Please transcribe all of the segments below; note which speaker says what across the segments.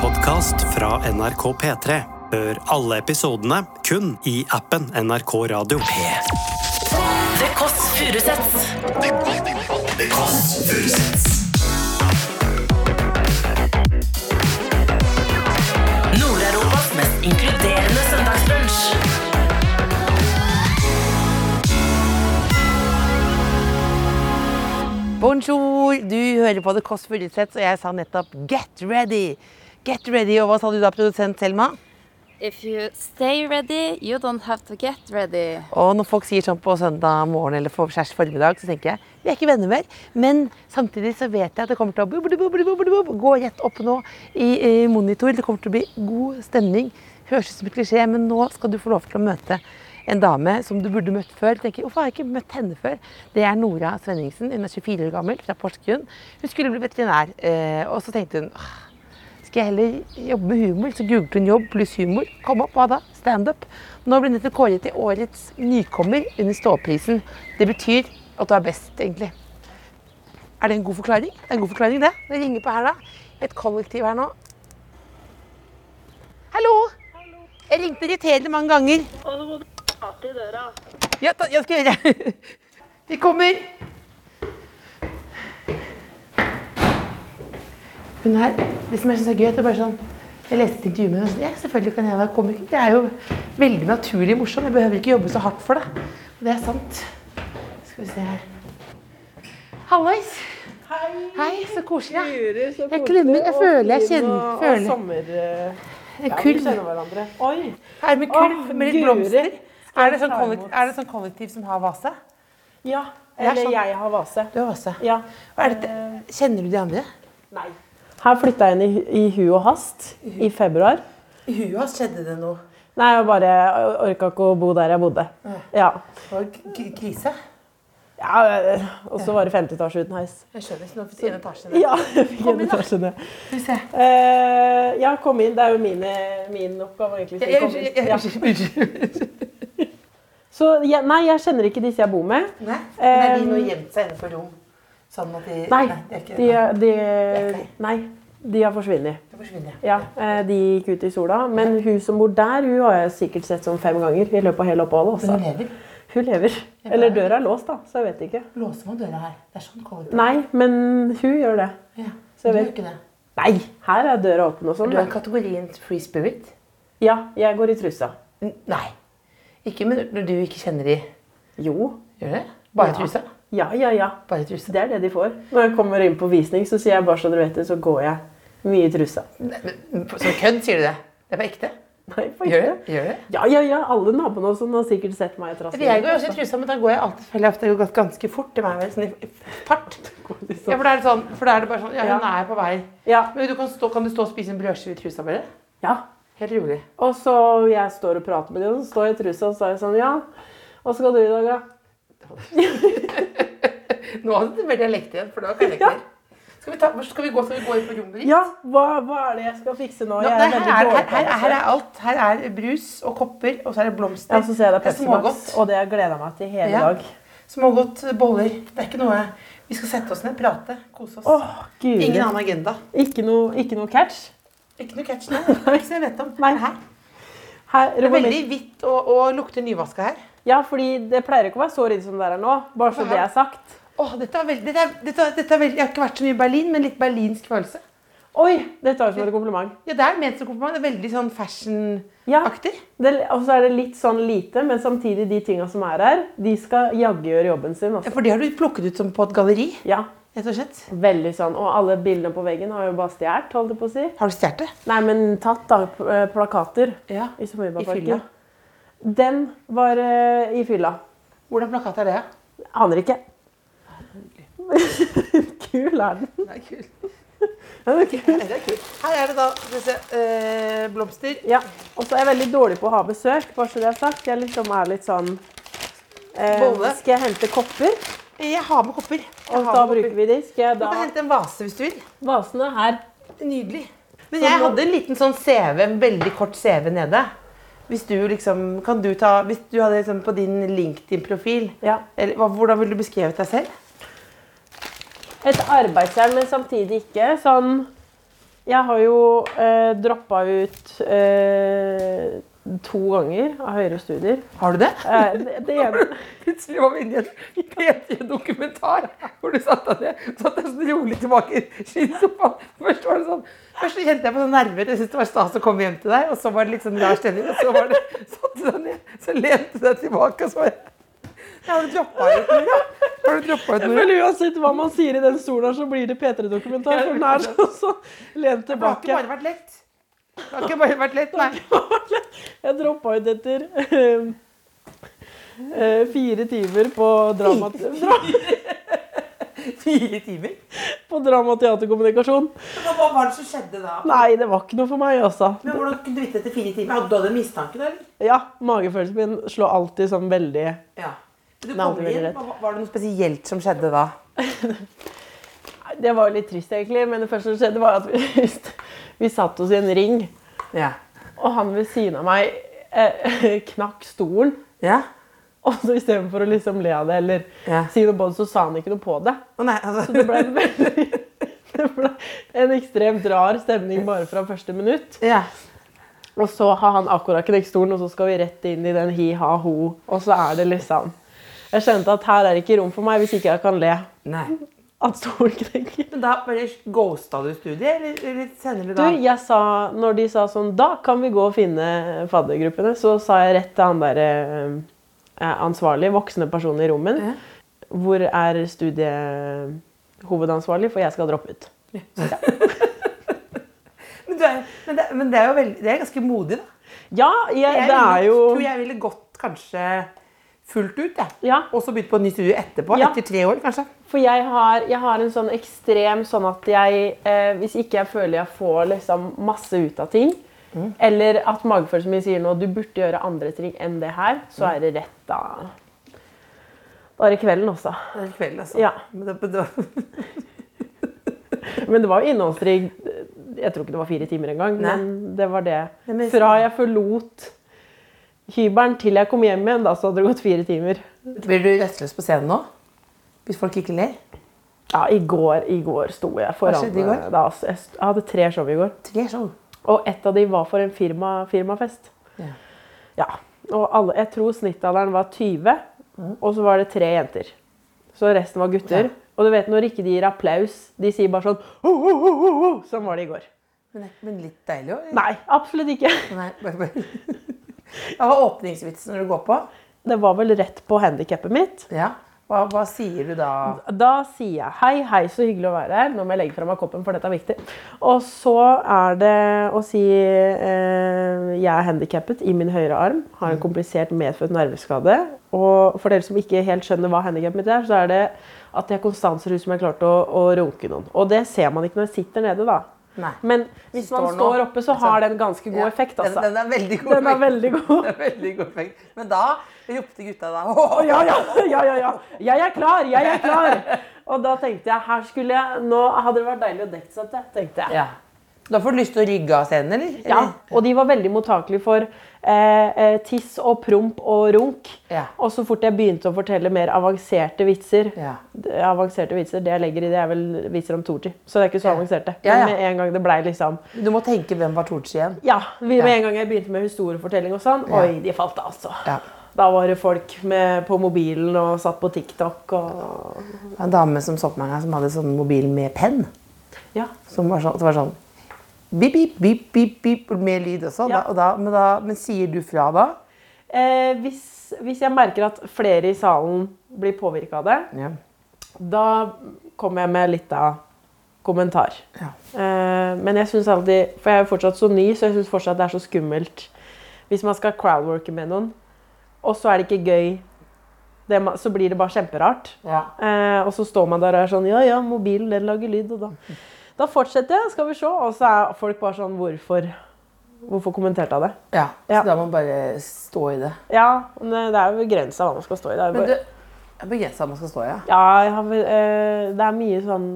Speaker 1: podkast fra NRK P3. Hør alle episodene kun i appen NRK Radio.
Speaker 2: The Kåss Furuseths. Nord-Europas mest inkluderende søndagsbrunch.
Speaker 3: Bonjour, du hører på The Kåss Furuseths, og jeg sa nettopp Get ready! Get ready, Og hva sa du da, produsent Selma?
Speaker 4: If you stay ready, you don't have to get ready.
Speaker 3: Og når folk sier sånn på søndag morgen eller for skjærs formiddag, så tenker jeg vi er ikke venner mer. Men samtidig så vet jeg at det kommer til å bub, bub, bub, bub, bub, bub, gå rett opp nå i, i monitor. Det kommer til å bli god stemning. Høres ut som en klisjé, men nå skal du få lov til å møte en dame som du burde møtt før. Tenker, Hvorfor har jeg ikke møtt henne før? Det er Nora Svenningsen. Hun er 24 år gammel, fra Porsgrunn. Hun skulle bli veterinær, eh, og så tenkte hun «Åh, skal jeg heller jobbe med humor. Så googlet hun jobb pluss humor. Kom opp, hva da? Standup. Nå ble hun nettopp kåret til årets nykommer under Ståprisen. Det betyr at du er best, egentlig. Er det en god forklaring? Det er en god forklaring, det. Det ringer på her, da. Et kollektiv her nå. Hallo! Jeg ringte irriterende mange ganger. Ja, ta, jeg skal gjøre det. Vi kommer. Hun her, det som jeg synes er gøy, det er bare sånn Jeg leste et intervju med henne og sånn Ja, selvfølgelig kan jeg være komiker. Det er jo veldig naturlig morsom. Jeg behøver ikke jobbe så hardt for det. Og det er sant. Skal vi se her. Hallois. Hei. så koselig. ja.
Speaker 5: Lurer, så
Speaker 3: Jeg
Speaker 5: koselig,
Speaker 3: klemmer, jeg
Speaker 5: og
Speaker 3: føler jeg
Speaker 5: fin,
Speaker 3: kjenner-
Speaker 5: og-
Speaker 3: føler.
Speaker 5: Og sommer... eh,
Speaker 3: En
Speaker 5: Ja, vi
Speaker 3: kulv.
Speaker 5: kjenner hverandre. Oi!
Speaker 3: Her med kulv
Speaker 5: Å,
Speaker 3: med litt
Speaker 5: Guri.
Speaker 3: blomster.
Speaker 5: Skal
Speaker 3: Er det,
Speaker 5: jeg
Speaker 3: sånn
Speaker 5: ta
Speaker 3: kollektiv,
Speaker 5: imot?
Speaker 3: er det sånn kollektiv som har vase?
Speaker 5: Ja,
Speaker 3: er
Speaker 5: eller
Speaker 3: sånn-
Speaker 5: jeg har vase.
Speaker 3: Du har vase.
Speaker 5: Ja.
Speaker 3: Hva er dette? Kjenner du de andre?
Speaker 5: Nei. Her flytta jeg inn i, hu- i hu og hast i februar.
Speaker 3: I huet hans skjedde det noe.
Speaker 5: Nei, jeg bare orka ikke å bo der jeg bodde. Ja.
Speaker 3: Det var k- k- krise.
Speaker 5: ja eh, og så var det femte etasje uten heis.
Speaker 3: Jeg skjønner ikke, nå fikk en etasje ned.
Speaker 5: Ja, jeg fikk
Speaker 3: Kom
Speaker 5: en
Speaker 3: inn, da.
Speaker 5: etasje ned.
Speaker 3: Skal vi se.
Speaker 5: Eh, ja, kom inn. Det er jo mine, min oppgave egentlig.
Speaker 3: Jeg-
Speaker 5: å
Speaker 3: jeg-
Speaker 5: komme inn.
Speaker 3: jeg- jeg-
Speaker 5: Ja.
Speaker 3: Unnskyld.
Speaker 5: Så jeg, nei, jeg kjenner ikke disse jeg bor med.
Speaker 3: Nei, men er de
Speaker 5: Eh,
Speaker 3: nå gjemt seg inne på rom? Sånn at de
Speaker 5: Nei,
Speaker 3: de er ikke,
Speaker 5: de,
Speaker 3: nei,
Speaker 5: de,
Speaker 3: ikke.
Speaker 5: nei, de har forsvunnet.
Speaker 3: da forsvinner jeg.
Speaker 5: Ja, eh, de gikk ut i sola. Men hun som bor der, hun har jeg sikkert sett sånn fem ganger i løpet av hele oppholdet.
Speaker 3: Men hun
Speaker 5: Også.
Speaker 3: lever.
Speaker 5: Hun lever. Eller døra er låst, da, så jeg vet ikke.
Speaker 3: Låser man døra her? Det er sånn kollektiv.
Speaker 5: Nei, men hun gjør det.
Speaker 3: Ja.
Speaker 5: Så jeg
Speaker 3: du gjør
Speaker 5: vet-
Speaker 3: ikke det.
Speaker 5: Nei, her er døra åpen og
Speaker 3: Du
Speaker 5: sånn.
Speaker 3: er i
Speaker 5: da.
Speaker 3: kategorien free spirit?
Speaker 5: Ja, jeg går i trusa.
Speaker 3: N- Nei. Ikke med- når du ikke kjenner de.
Speaker 5: Jo.
Speaker 3: Gjør du det? Bare
Speaker 5: Ja.
Speaker 3: trusa?
Speaker 5: Ja, ja, ja.
Speaker 3: Bare trusa.
Speaker 5: Det er det de får. Når jeg kommer inn på visning, så sier jeg bare så dere vet det, så går jeg mye i trusa.
Speaker 3: Nei, men- Som kødd, sier du det? Det er på ekte?
Speaker 5: Nei, for
Speaker 3: Gjør
Speaker 5: ikke.
Speaker 3: du det? Gjør du det?
Speaker 5: Ja, ja, ja. Alle naboene og sånn har sikkert sett meg i trassen.
Speaker 3: Jeg går jo også i trusa, men da går jeg alltid føler jeg at det har gått ganske fort. Det er vel sånn i fart. Ja,
Speaker 5: trusa.
Speaker 3: for da er det sånn, for da er det bare sånn, ja, hun
Speaker 5: Ja.
Speaker 3: er på vei.
Speaker 5: Liksom. Ja.
Speaker 3: Men du kan, stå, kan du stå og spise en brødskive i trusa bare?
Speaker 5: ja.
Speaker 3: Helt rolig.
Speaker 5: Og så jeg står og prater med dem, og så står jeg i trusa og så er jeg sånn, ja, hva skal du i dag, da?
Speaker 3: Nå hadde du mer dialekt igjen, for da kan jeg ikke mer. Skal vi, ta, hvor skal vi gå, skal vi gå inn på rommet ditt?
Speaker 5: Ja, hva, hva er det jeg skal fikse nå?
Speaker 3: Nå,
Speaker 5: Jeg
Speaker 3: nei,
Speaker 5: er
Speaker 3: her,
Speaker 5: veldig
Speaker 3: er,
Speaker 5: dårlig
Speaker 3: her,
Speaker 5: på
Speaker 3: her,
Speaker 5: det.
Speaker 3: her er alt. Her er brus og kopper, og så er det blomster.
Speaker 5: Ja, så ser jeg det er Pepsi Max,
Speaker 3: smågodt.
Speaker 5: og det har jeg gleda meg til hele
Speaker 3: Ja.
Speaker 5: dag.
Speaker 3: Smågodt, boller. Det er ikke noe Vi skal sette oss ned, prate, kose oss.
Speaker 5: Åh, guri.
Speaker 3: Ingen annen agenda.
Speaker 5: Ikke noe, ikke noe catch.
Speaker 3: Ikke noe catch, nei. Ikke som jeg vet om.
Speaker 5: Nei.
Speaker 3: Her.
Speaker 5: Her,
Speaker 3: Det er
Speaker 5: rommet
Speaker 3: veldig
Speaker 5: mitt.
Speaker 3: hvitt og, og lukter nyvaska her.
Speaker 5: Ja, fordi det pleier ikke å være så ryddig som det er her nå, bare så
Speaker 3: Hva?
Speaker 5: det er sagt.
Speaker 3: Åh, dette er veldig, dette er, dette er, dette er veldig Jeg har ikke vært så mye i Berlin, men litt berlinsk følelse.
Speaker 5: Oi, det tar jeg som et kompliment.
Speaker 3: Ja, det er ment som kompliment. Det er veldig sånn fashion-aktig.
Speaker 5: Ja, det, og så er det litt sånn lite, men samtidig de tinga som er her, de skal jaggu gjøre jobben sin.
Speaker 3: Ja,
Speaker 5: Altså.
Speaker 3: for det har du plukket ut som på et galleri,
Speaker 5: Ja,
Speaker 3: rett og slett.
Speaker 5: veldig sånn. Og alle bildene på veggen har jo bare stjålet, holdt jeg på å si.
Speaker 3: Har du stjålet det?
Speaker 5: Nei, men tatt da, p- eh, plakater
Speaker 3: Ja. I
Speaker 5: i
Speaker 3: fylla.
Speaker 5: Samaribaparken. Den var eh, i fylla.
Speaker 3: Hvordan plakat er det?
Speaker 5: Aner ikke. Kul er den.
Speaker 3: Det er kult.
Speaker 5: Den er kul.
Speaker 3: Her er det da skal vi se, eh, blomster.
Speaker 5: Ja, og så er jeg veldig dårlig på å ha besøk, bare så det er sagt. Jeg liksom er litt sånn eh,
Speaker 3: Bolle.
Speaker 5: Skal jeg hente kopper?
Speaker 3: Jeg har med kopper. Jeg
Speaker 5: Og
Speaker 3: har
Speaker 5: da
Speaker 3: med kopper.
Speaker 5: bruker vi de. Skal jeg
Speaker 3: Du
Speaker 5: da
Speaker 3: kan hente en vase hvis du vil.
Speaker 5: Vasene her.
Speaker 3: Nydelig. Men
Speaker 5: Så
Speaker 3: jeg
Speaker 5: nå-
Speaker 3: hadde en liten sånn CV, en veldig kort CV nede. Hvis du liksom, kan du ta, hvis du hadde liksom på din LinkedIn-profil,
Speaker 5: Ja.
Speaker 3: eller hva- hvordan ville du beskrevet deg selv?
Speaker 5: Et arbeidsjern, men samtidig ikke. Sånn Jeg har jo eh, droppa ut eh, to ganger av høyere studier.
Speaker 3: Har du det?
Speaker 5: Eh, det, det ene
Speaker 3: Plutselig var vi inne i en tredje dokumentar hvor du satt deg ned satt deg sånn rolig tilbake i skisofaen. Først var det sånn, først så kjente jeg på sånn nerver. Jeg syntes det var stas å komme hjem til deg. Og så var det litt sånn rar stemning. Og så var det, satt du deg ned, så lente du deg tilbake, og så var jeg Ja, Har du droppa ut noe? ja? Har du droppa ut noe?
Speaker 5: Men uansett hva man sier i den stolen, her, så blir det P3-dokumentar. For den er så, så lent
Speaker 3: Det har ikke
Speaker 5: tilbake.
Speaker 3: bare vært lett. Det har ikke bare vært lett, nei.
Speaker 5: Jeg droppa ut etter ehm, eh, fire timer på, drama, dra,
Speaker 3: Fire timer.
Speaker 5: på drama, teaterkommunikasjon.
Speaker 3: Hva var det som skjedde da?
Speaker 5: Nei, det var ikke noe for meg, altså.
Speaker 3: Men Hvordan kunne du vite etter fire timer? Hadde du hatt en mistanke da? eller?
Speaker 5: Ja, magefølelsen min slår alltid sånn veldig
Speaker 3: Ja. Du
Speaker 5: Nei,
Speaker 3: kom
Speaker 5: det var
Speaker 3: inn,
Speaker 5: rett.
Speaker 3: hva- Var det noe spesielt som skjedde da?
Speaker 5: Nei, Det var jo litt trist, egentlig, men det første som skjedde, var at vi, vi satt oss i en ring,
Speaker 3: Ja.
Speaker 5: og han ved siden av meg eh, knakk stolen.
Speaker 3: Ja?
Speaker 5: Og så istedenfor å liksom le av det eller
Speaker 3: Ja.
Speaker 5: si noe på det, så sa han ikke noe på det.
Speaker 3: Å nei, altså.
Speaker 5: Det ble, en veldig, det ble en ekstremt rar stemning bare fra første minutt.
Speaker 3: Ja.
Speaker 5: Og så har han akkurat knekt stolen, og så skal vi rett inn i den hi-ha-ho. Og så er det liksom Jeg kjente at her er ikke rom for meg hvis ikke jeg kan le
Speaker 3: Nei.
Speaker 5: at stolen knekker.
Speaker 3: Men da bare ghosta du studiet, eller, eller senere
Speaker 5: Du,
Speaker 3: da?
Speaker 5: jeg sa, når de sa sånn Da kan vi gå og finne faddergruppene. Så sa jeg rett til han derre ansvarlig, voksne personen i rommet.
Speaker 3: Ja.
Speaker 5: Hvor er studiehovedansvarlig? For jeg skal droppe ut.
Speaker 3: Men, du er, men, det, men det er jo veldig, det er ganske modig, da.
Speaker 5: Ja, jeg,
Speaker 3: Jeg
Speaker 5: det
Speaker 3: ville-
Speaker 5: er jo
Speaker 3: tror jeg ville gått kanskje fullt ut, jeg.
Speaker 5: Ja.
Speaker 3: Og så begynt på en ny studie etterpå.
Speaker 5: Ja.
Speaker 3: Etter tre år, kanskje.
Speaker 5: For jeg har, jeg har en sånn ekstrem sånn at jeg eh, Hvis ikke jeg føler jeg får liksom masse ut av ting,
Speaker 3: Mm.
Speaker 5: eller at magefølelsen min sier nå du burde gjøre andre ting enn det her,
Speaker 3: Mm.
Speaker 5: så er det rett da. Da er det kvelden også.
Speaker 3: Den kvelden, altså.
Speaker 5: Ja.
Speaker 3: Men det, det, var-
Speaker 5: Men det var jo innholdsrik Jeg tror ikke det var fire timer engang,
Speaker 3: Nei.
Speaker 5: men det var det.
Speaker 3: Men det-
Speaker 5: Fra jeg forlot hybelen til jeg kom hjem igjen, da så hadde det gått fire timer.
Speaker 3: blir du rettløs på scenen nå? Hvis folk ikke ler?
Speaker 5: Ja, i går, i går sto jeg foran
Speaker 3: skjedde i går?
Speaker 5: eh, Da, altså, jeg, st- jeg hadde tre show i går.
Speaker 3: Tre sånn. show.
Speaker 5: Og ett av de var for en firma, firmafest.
Speaker 3: Ja.
Speaker 5: Ja, Og alle, jeg tror snittalderen var 20, og så var det tre jenter. Så resten var gutter.
Speaker 3: Ja.
Speaker 5: Og du vet når ikke de gir applaus, de sier bare sånn oh, oh, oh, oh, oh. Sånn var det i går.
Speaker 3: Men, men litt deilig òg?
Speaker 5: Nei, absolutt ikke.
Speaker 3: Nei, bare, bare. Hva var åpningsvitsen når du går på?
Speaker 5: Det var vel rett på handikappet mitt.
Speaker 3: Ja. Hva, hva sier du da?
Speaker 5: Da sier jeg hei, hei, så hyggelig å være her. Nå må jeg legge fra meg koppen, for dette er viktig. Og så er det å si eh, jeg er handikappet i min høyre arm.
Speaker 3: Mm.
Speaker 5: Har en komplisert medfødt nerveskade. Og for dere som ikke helt skjønner hva handikappet mitt er, så er det at jeg har konstanser som jeg har klart å, å runke noen. Og det ser man ikke når jeg sitter nede, da.
Speaker 3: Nei.
Speaker 5: Men hvis
Speaker 3: Står
Speaker 5: man
Speaker 3: nå.
Speaker 5: står oppe, så har den ganske god
Speaker 3: Ja,
Speaker 5: effekt,
Speaker 3: den-
Speaker 5: altså.
Speaker 3: Den er veldig god.
Speaker 5: Den er
Speaker 3: effekt.
Speaker 5: veldig god.
Speaker 3: Den er veldig god effekt. Men da ropte gutta da «Åh!»
Speaker 5: Ja, ja, ja, ja, ja. Jeg er klar, jeg er klar. Og da tenkte jeg, her skulle jeg, nå hadde det vært deilig å dekke seg til, tenkte jeg.
Speaker 3: ja. Da får du lyst til å rygge av scenen, eller?
Speaker 5: Ja, og de var veldig mottakelige for eh, eh, tiss og promp og runk.
Speaker 3: Ja.
Speaker 5: Og så fort jeg begynte å fortelle mer avanserte vitser,
Speaker 3: Ja.
Speaker 5: d- avanserte vitser, det jeg legger i det er vel vitser om Torti, så det er ikke så
Speaker 3: Ja.
Speaker 5: avanserte.
Speaker 3: Ja, ja.
Speaker 5: Men med en gang det blei liksom,
Speaker 3: Eller? Du må tenke hvem var Torchi igjen.
Speaker 5: ja, vi, med en gang jeg begynte med historiefortelling og sånn,
Speaker 3: Ja.
Speaker 5: oi, de falt altså.
Speaker 3: Ja.
Speaker 5: Da var det folk med, på mobilen og satt på TikTok og...
Speaker 3: Det var en dame som så på meg en gang som hadde sånn mobil med penn.
Speaker 5: Ja,
Speaker 3: Som var sånn, det var sånn bip, bip, bip, bip, bip, med lyd også.
Speaker 5: Ja.
Speaker 3: Da, og da, men, da, men sier du fra da?
Speaker 5: Eh, hvis, hvis jeg merker at flere i salen blir påvirka av det,
Speaker 3: Ja.
Speaker 5: da kommer jeg med litt av kommentar.
Speaker 3: Ja.
Speaker 5: Eh, men jeg syns alltid For jeg er jo fortsatt så ny, så jeg syns fortsatt det er så skummelt hvis man skal crowdworke med noen, og så er det ikke gøy, det, ma- så blir det bare kjemperart.
Speaker 3: ja.
Speaker 5: Eh, og så står man der og er sånn Ja, ja, mobilen den lager lyd. Og da, da fortsetter jeg, skal vi se. Og så er folk bare sånn Hvorfor, hvorfor kommenterte jeg det?
Speaker 3: Ja,
Speaker 5: Ja.
Speaker 3: så da må man bare stå i det.
Speaker 5: Ja, men det er jo begrensa hva man skal stå i. Det er jo
Speaker 3: Men
Speaker 5: bare-
Speaker 3: du, jeg begrenser at man skal stå, ja.
Speaker 5: Ja, jeg har, vel, eh, det er mye sånn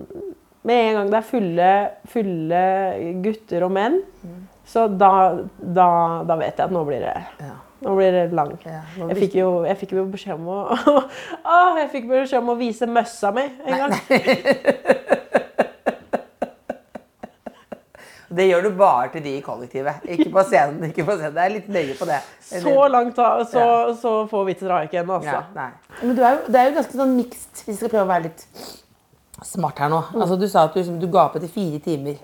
Speaker 5: Med en gang det er fulle, fulle gutter og menn,
Speaker 3: Mm.
Speaker 5: så da, da, da vet jeg at nå blir det,
Speaker 3: Ja.
Speaker 5: nå blir det lang.
Speaker 3: Ja, nå
Speaker 5: Jeg
Speaker 3: blir-
Speaker 5: fikk, jo, jeg fikk jo beskjed om å Åh, Jeg fikk beskjed om å vise møssa mi en gang.
Speaker 3: Det gjør du bare til de i kollektivet. Ikke på scenen. ikke på scenen. Det er litt nøye på det.
Speaker 5: Så langt, da, så, så få vitser har jeg ikke ennå,
Speaker 3: ja,
Speaker 5: altså.
Speaker 3: nei.
Speaker 6: Men du er jo, det er jo ganske sånn mixed, hvis vi skal prøve å være litt smart her nå.
Speaker 3: Mm.
Speaker 6: Altså, du sa at du, liksom, du gapet i fire timer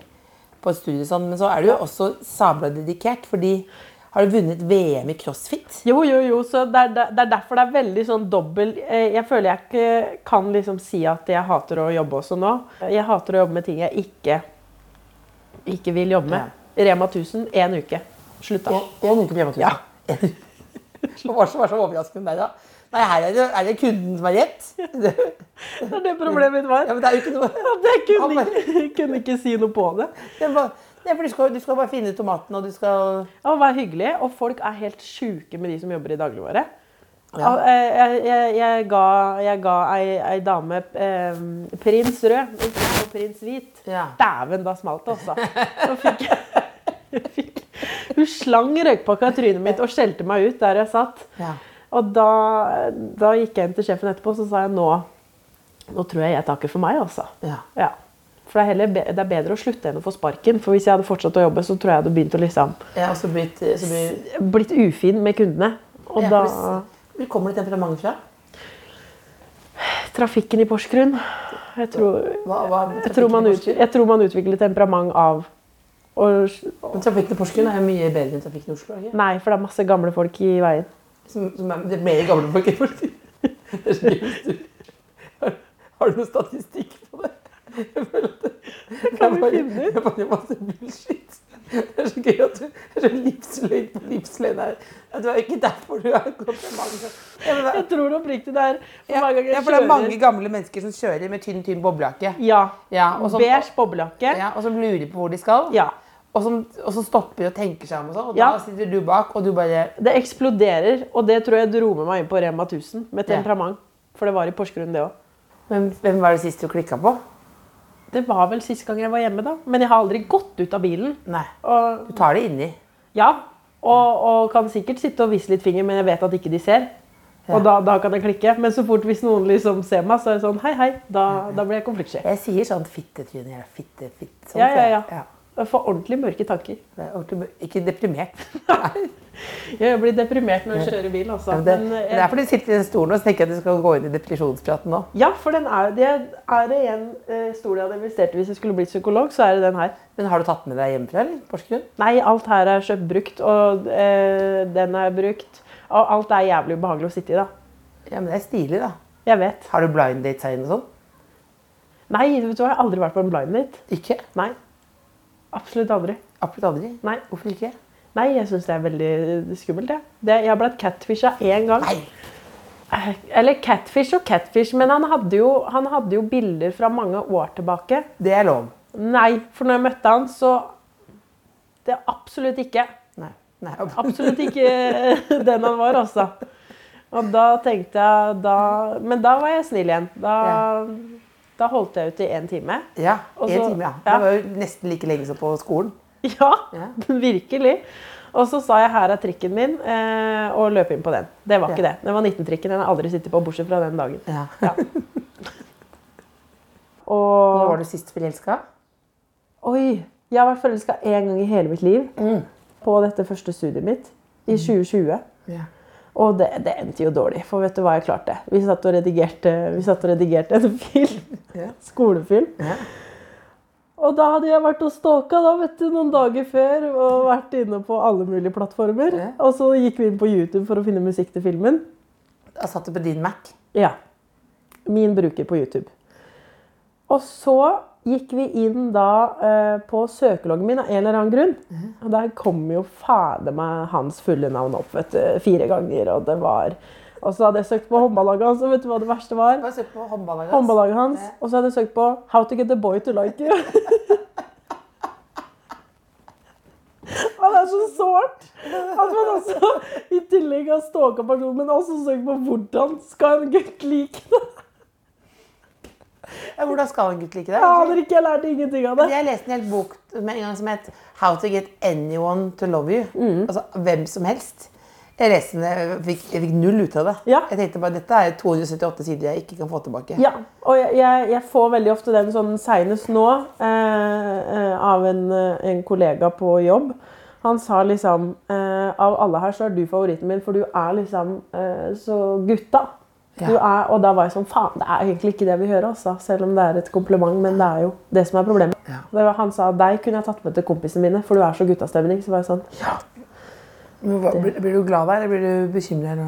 Speaker 6: på et studie, sånn, men så er du jo også sabla dedikert, fordi har du vunnet VM i crossfit?
Speaker 5: Jo, jo, jo. Så det er, det er derfor det er veldig sånn dobbel eh, Jeg føler jeg ikke kan liksom si at jeg hater å jobbe også nå. Jeg hater å jobbe med ting jeg ikke, ikke vil jobbe med. Rema 1000, én uke. Slutt, da.
Speaker 6: En uke på hjemmetur. Ja. Hva som var så overraskende der, da? Nei, her er det, er det kunden som er rett. Det,
Speaker 5: Det er det problemet mitt var.
Speaker 6: ja, men det er jo ikke noe
Speaker 5: At jeg kunne ikke, kunne ikke si noe på det.
Speaker 6: det er bare, det er for du skal, du skal bare finne tomaten, og du skal
Speaker 5: Og vær hyggelig. Og folk er helt sjuke med de som jobber i dagligvare. Al- eh, Jeg, jeg, jeg, ga, jeg ga ei, ei dame eh, prins rød ikke og prins hvit.
Speaker 6: Ja.
Speaker 5: Dæven, da smalt det også. Nå fikk jeg, jeg fikk, hun slang røykpakka i trynet mitt og skjelte meg ut der jeg satt.
Speaker 6: Ja.
Speaker 5: Og da, da gikk jeg inn til sjefen etterpå og så sa jeg nå, nå tror jeg jeg takker for meg, altså.
Speaker 6: Ja.
Speaker 5: Ja. For det er, heller, be- det er bedre å slutte enn å få sparken. For hvis jeg hadde fortsatt å jobbe, så tror jeg jeg hadde begynt å liksom
Speaker 6: Ja, og så blir, så blir
Speaker 5: blitt ufin med kundene. Og
Speaker 6: ja,
Speaker 5: da
Speaker 6: for du- Hvor kommer det temperamentet fra?
Speaker 5: Trafikken i Porsgrunn Jeg tror,
Speaker 6: Hva, hva,
Speaker 5: jeg tror, man, ut, jeg tror man utvikler temperament av å
Speaker 6: Men trafikken i Porsgrunn er jo mye bedre enn trafikken i Oslo. er det Ikke?
Speaker 5: Nei, for det er masse gamle folk i veien.
Speaker 6: Som, som er, det er mer gamle folk i Porsgrunn. Det er så mye styr. Har, har du noen statistikk på det? Jeg føler at det, det er
Speaker 5: vi
Speaker 6: bare-
Speaker 5: finne ut?
Speaker 6: Det er bare masse bullshit. Det er så gøy at du det er så livsløgn på livsløgn her. Ja, Det er jo ikke derfor du har gått til mange.
Speaker 3: Ja, men det
Speaker 5: Jeg
Speaker 3: er-
Speaker 5: tror oppriktig det er for
Speaker 3: Ja,
Speaker 5: hver gang jeg
Speaker 3: ja, for det er
Speaker 5: kjører-
Speaker 3: mange gamle mennesker som kjører med tynn, tynn boblejakke.
Speaker 5: Ja.
Speaker 3: Ja, og som-
Speaker 5: Beige boblejakke.
Speaker 3: Ja, og som lurer på hvor de skal.
Speaker 5: Ja.
Speaker 3: Og, som, og som stopper og tenker seg om. Og, sånn, og
Speaker 5: Ja.
Speaker 3: da sitter du bak, og du bare
Speaker 5: Det eksploderer, og det tror jeg dro med meg inn på Rema 1000 med
Speaker 3: Ja.
Speaker 5: temperament. For det var i Porsgrunn, det òg.
Speaker 3: Hvem, hvem var det sist du klikka på?
Speaker 5: Det var vel sist gang jeg var hjemme, da. Men jeg har aldri gått ut av bilen.
Speaker 3: Nei.
Speaker 5: Og
Speaker 3: Du tar det inni.
Speaker 5: Ja, og, og kan sikkert sitte og vise litt finger, men jeg vet at ikke de ser. Og da, da kan jeg klikke. Men så fort hvis noen liksom ser meg, så er det sånn hei, hei. Da, da blir jeg konfliktsky.
Speaker 3: Jeg sier sånn fittetryne. eller Fitte, fitte. Sånn,
Speaker 5: Ja, ja, ja.
Speaker 3: sier jeg.
Speaker 5: Jeg får ordentlig mørke tanker.
Speaker 3: Det er ordentlig- Ikke deprimert.
Speaker 5: Jeg blir deprimert når jeg kjører bil, altså.
Speaker 3: Men det,
Speaker 5: Men,
Speaker 3: det
Speaker 5: eh,
Speaker 3: er derfor du sitter i den stolen og så tenker jeg at du skal gå inn i depresjonspraten nå.
Speaker 5: ja, for den er, det er det en eh, stol jeg hadde investert i hvis jeg skulle blitt psykolog, så er det den her.
Speaker 3: Men har du tatt med deg hjemmefra, eller? Porsgrunn?
Speaker 5: Nei, alt her er kjøpt brukt, og eh, den er brukt. Og alt er jævlig ubehagelig å sitte i, da.
Speaker 3: Ja, men det er stilig, da.
Speaker 5: Jeg vet.
Speaker 3: Har du blind dates her inne og sånn?
Speaker 5: Nei, vet du hva, jeg har aldri vært på en blind date.
Speaker 3: Ikke.
Speaker 5: Nei. Absolutt aldri.
Speaker 3: Absolutt aldri.
Speaker 5: Nei.
Speaker 3: Hvorfor ikke?
Speaker 5: Nei, jeg syns det er veldig skummelt. Jeg, det, jeg har blitt catfisha én gang.
Speaker 3: Nei.
Speaker 5: Eh, Eller catfish og catfish, men han hadde, jo, han hadde jo bilder fra mange år tilbake.
Speaker 3: Det er lov.
Speaker 5: Nei, for når jeg møtte han, så Det er absolutt ikke.
Speaker 3: Nei. Nei.
Speaker 5: Absolutt ikke den han var, altså. Og da tenkte jeg da, Men da var jeg snill igjen. Da, da holdt jeg ut i én time.
Speaker 3: Ja,
Speaker 5: Og
Speaker 3: en
Speaker 5: så-
Speaker 3: time, ja.
Speaker 5: ja.
Speaker 3: Det var jo nesten like lenge som på skolen.
Speaker 5: Ja,
Speaker 3: Ja.
Speaker 5: virkelig. Og så sa jeg 'her er trikken min', eh, og løp inn på den. Det var ikke
Speaker 3: Ja.
Speaker 5: det. Det var 19-trikken. Den har jeg aldri sittet på, bortsett fra den dagen.
Speaker 3: Ja. Hva
Speaker 5: Og
Speaker 3: var du sist forelska?
Speaker 5: oi! Jeg har vært forelska én gang i hele mitt liv.
Speaker 3: Mm.
Speaker 5: På dette første studiet mitt. I 2020.
Speaker 3: Ja.
Speaker 5: Og det, det endte jo dårlig, for vet du hva jeg klarte? Vi satt og redigerte, vi satt og redigerte en film.
Speaker 3: Ja.
Speaker 5: Skolefilm.
Speaker 3: Ja.
Speaker 5: Og da hadde jeg vært og stalka da, vet du, noen dager før og vært inne på alle mulige plattformer.
Speaker 3: Ja.
Speaker 5: Og så gikk vi inn på YouTube for å finne musikk til filmen.
Speaker 3: Jeg satt du på din Mac.
Speaker 5: Ja. Min bruker på YouTube. Og så gikk vi inn da eh, på søkeloggen min av en eller annen grunn. Og der kom jo fader meg hans fulle navn opp vet du, fire ganger, og det var Og så hadde jeg søkt på håndballaget hans, og vet du hva det verste var?
Speaker 3: Bare se på håndballaget. hans.
Speaker 5: Håndballaget hans. Og så hadde jeg søkt på 'How to get a boy to like you'. Og det er så sårt at man også i tillegg har stalka personen, men også søkt på 'Hvordan skal en gutt like det?'
Speaker 3: Ja, hvordan skal en gutt like
Speaker 5: Jeg
Speaker 3: det?
Speaker 5: aner ikke, jeg lærte ingenting av det.
Speaker 3: Jeg leste en hel bok med en gang som het How to get anyone to love you. Altså hvem som helst. Resten jeg fikk, jeg fikk null ut av det.
Speaker 5: Ja.
Speaker 3: Jeg tenkte bare dette er 278 sider jeg ikke kan få tilbake.
Speaker 5: Ja, og jeg, jeg, jeg får veldig ofte den sånn seinest nå eh, eh, av en, eh, en kollega på jobb. Han sa liksom eh, Av alle her så er du favoritten min, for du er liksom eh, så gutta. Du er, og da var jeg sånn Faen, det er egentlig ikke det vi hører, altså. Selv om det er et kompliment, men det er jo det som er problemet. Det var, han sa deg kunne jeg tatt med til kompisene mine, for du er så guttastemning. Så var jeg sånn
Speaker 3: Men hva, blir, blir du glad der, eller blir du bekymra?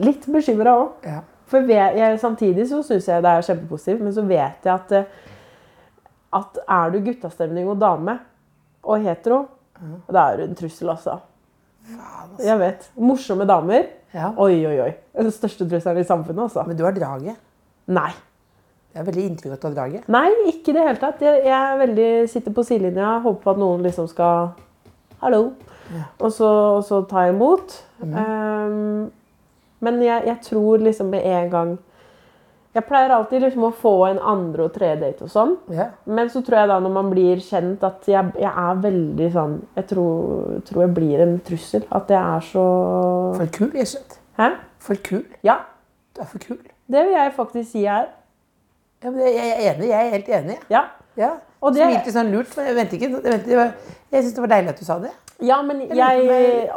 Speaker 5: Litt bekymra òg.
Speaker 3: Ja.
Speaker 5: For vet, jeg, samtidig så syns jeg det er kjempepositivt, men så vet jeg at, eh, at er du guttastemning og dame og hetero, da er du en trussel, altså. Jeg vet. Morsomme damer.
Speaker 3: Ja.
Speaker 5: Oi, oi, oi. Den største trusselen i samfunnet, altså.
Speaker 3: Men du har draget.
Speaker 5: Nei.
Speaker 3: Jeg har veldig inntrykk av at du har draget.
Speaker 5: Nei, ikke i det hele tatt. Jeg, jeg er veldig, sitter på sidelinja, håper på at noen liksom skal Hallo. Og, så, og så tar jeg imot. Ehm, men jeg, jeg tror liksom med en gang Jeg pleier alltid liksom å få en andre og tredje date og sånn.
Speaker 3: Ja.
Speaker 5: Men så tror jeg da når man blir kjent at jeg, jeg er veldig sånn Jeg tror, tror jeg blir en trussel. At jeg er så
Speaker 3: For kul, jeg skjønt.
Speaker 5: Hæ?
Speaker 3: For kul.
Speaker 5: Ja,
Speaker 3: Du er for kul.
Speaker 5: det vil jeg faktisk si jeg er.
Speaker 3: Ja, men jeg er enig. Jeg er helt enig. jeg.
Speaker 5: Ja.
Speaker 3: Ja.
Speaker 5: Og
Speaker 3: det...
Speaker 5: det-
Speaker 3: Smilte sånn lurt, men jeg ventet ikke. Jeg, ventet, jeg, var- jeg synes det var deilig at du sa det.
Speaker 5: Ja, men jeg,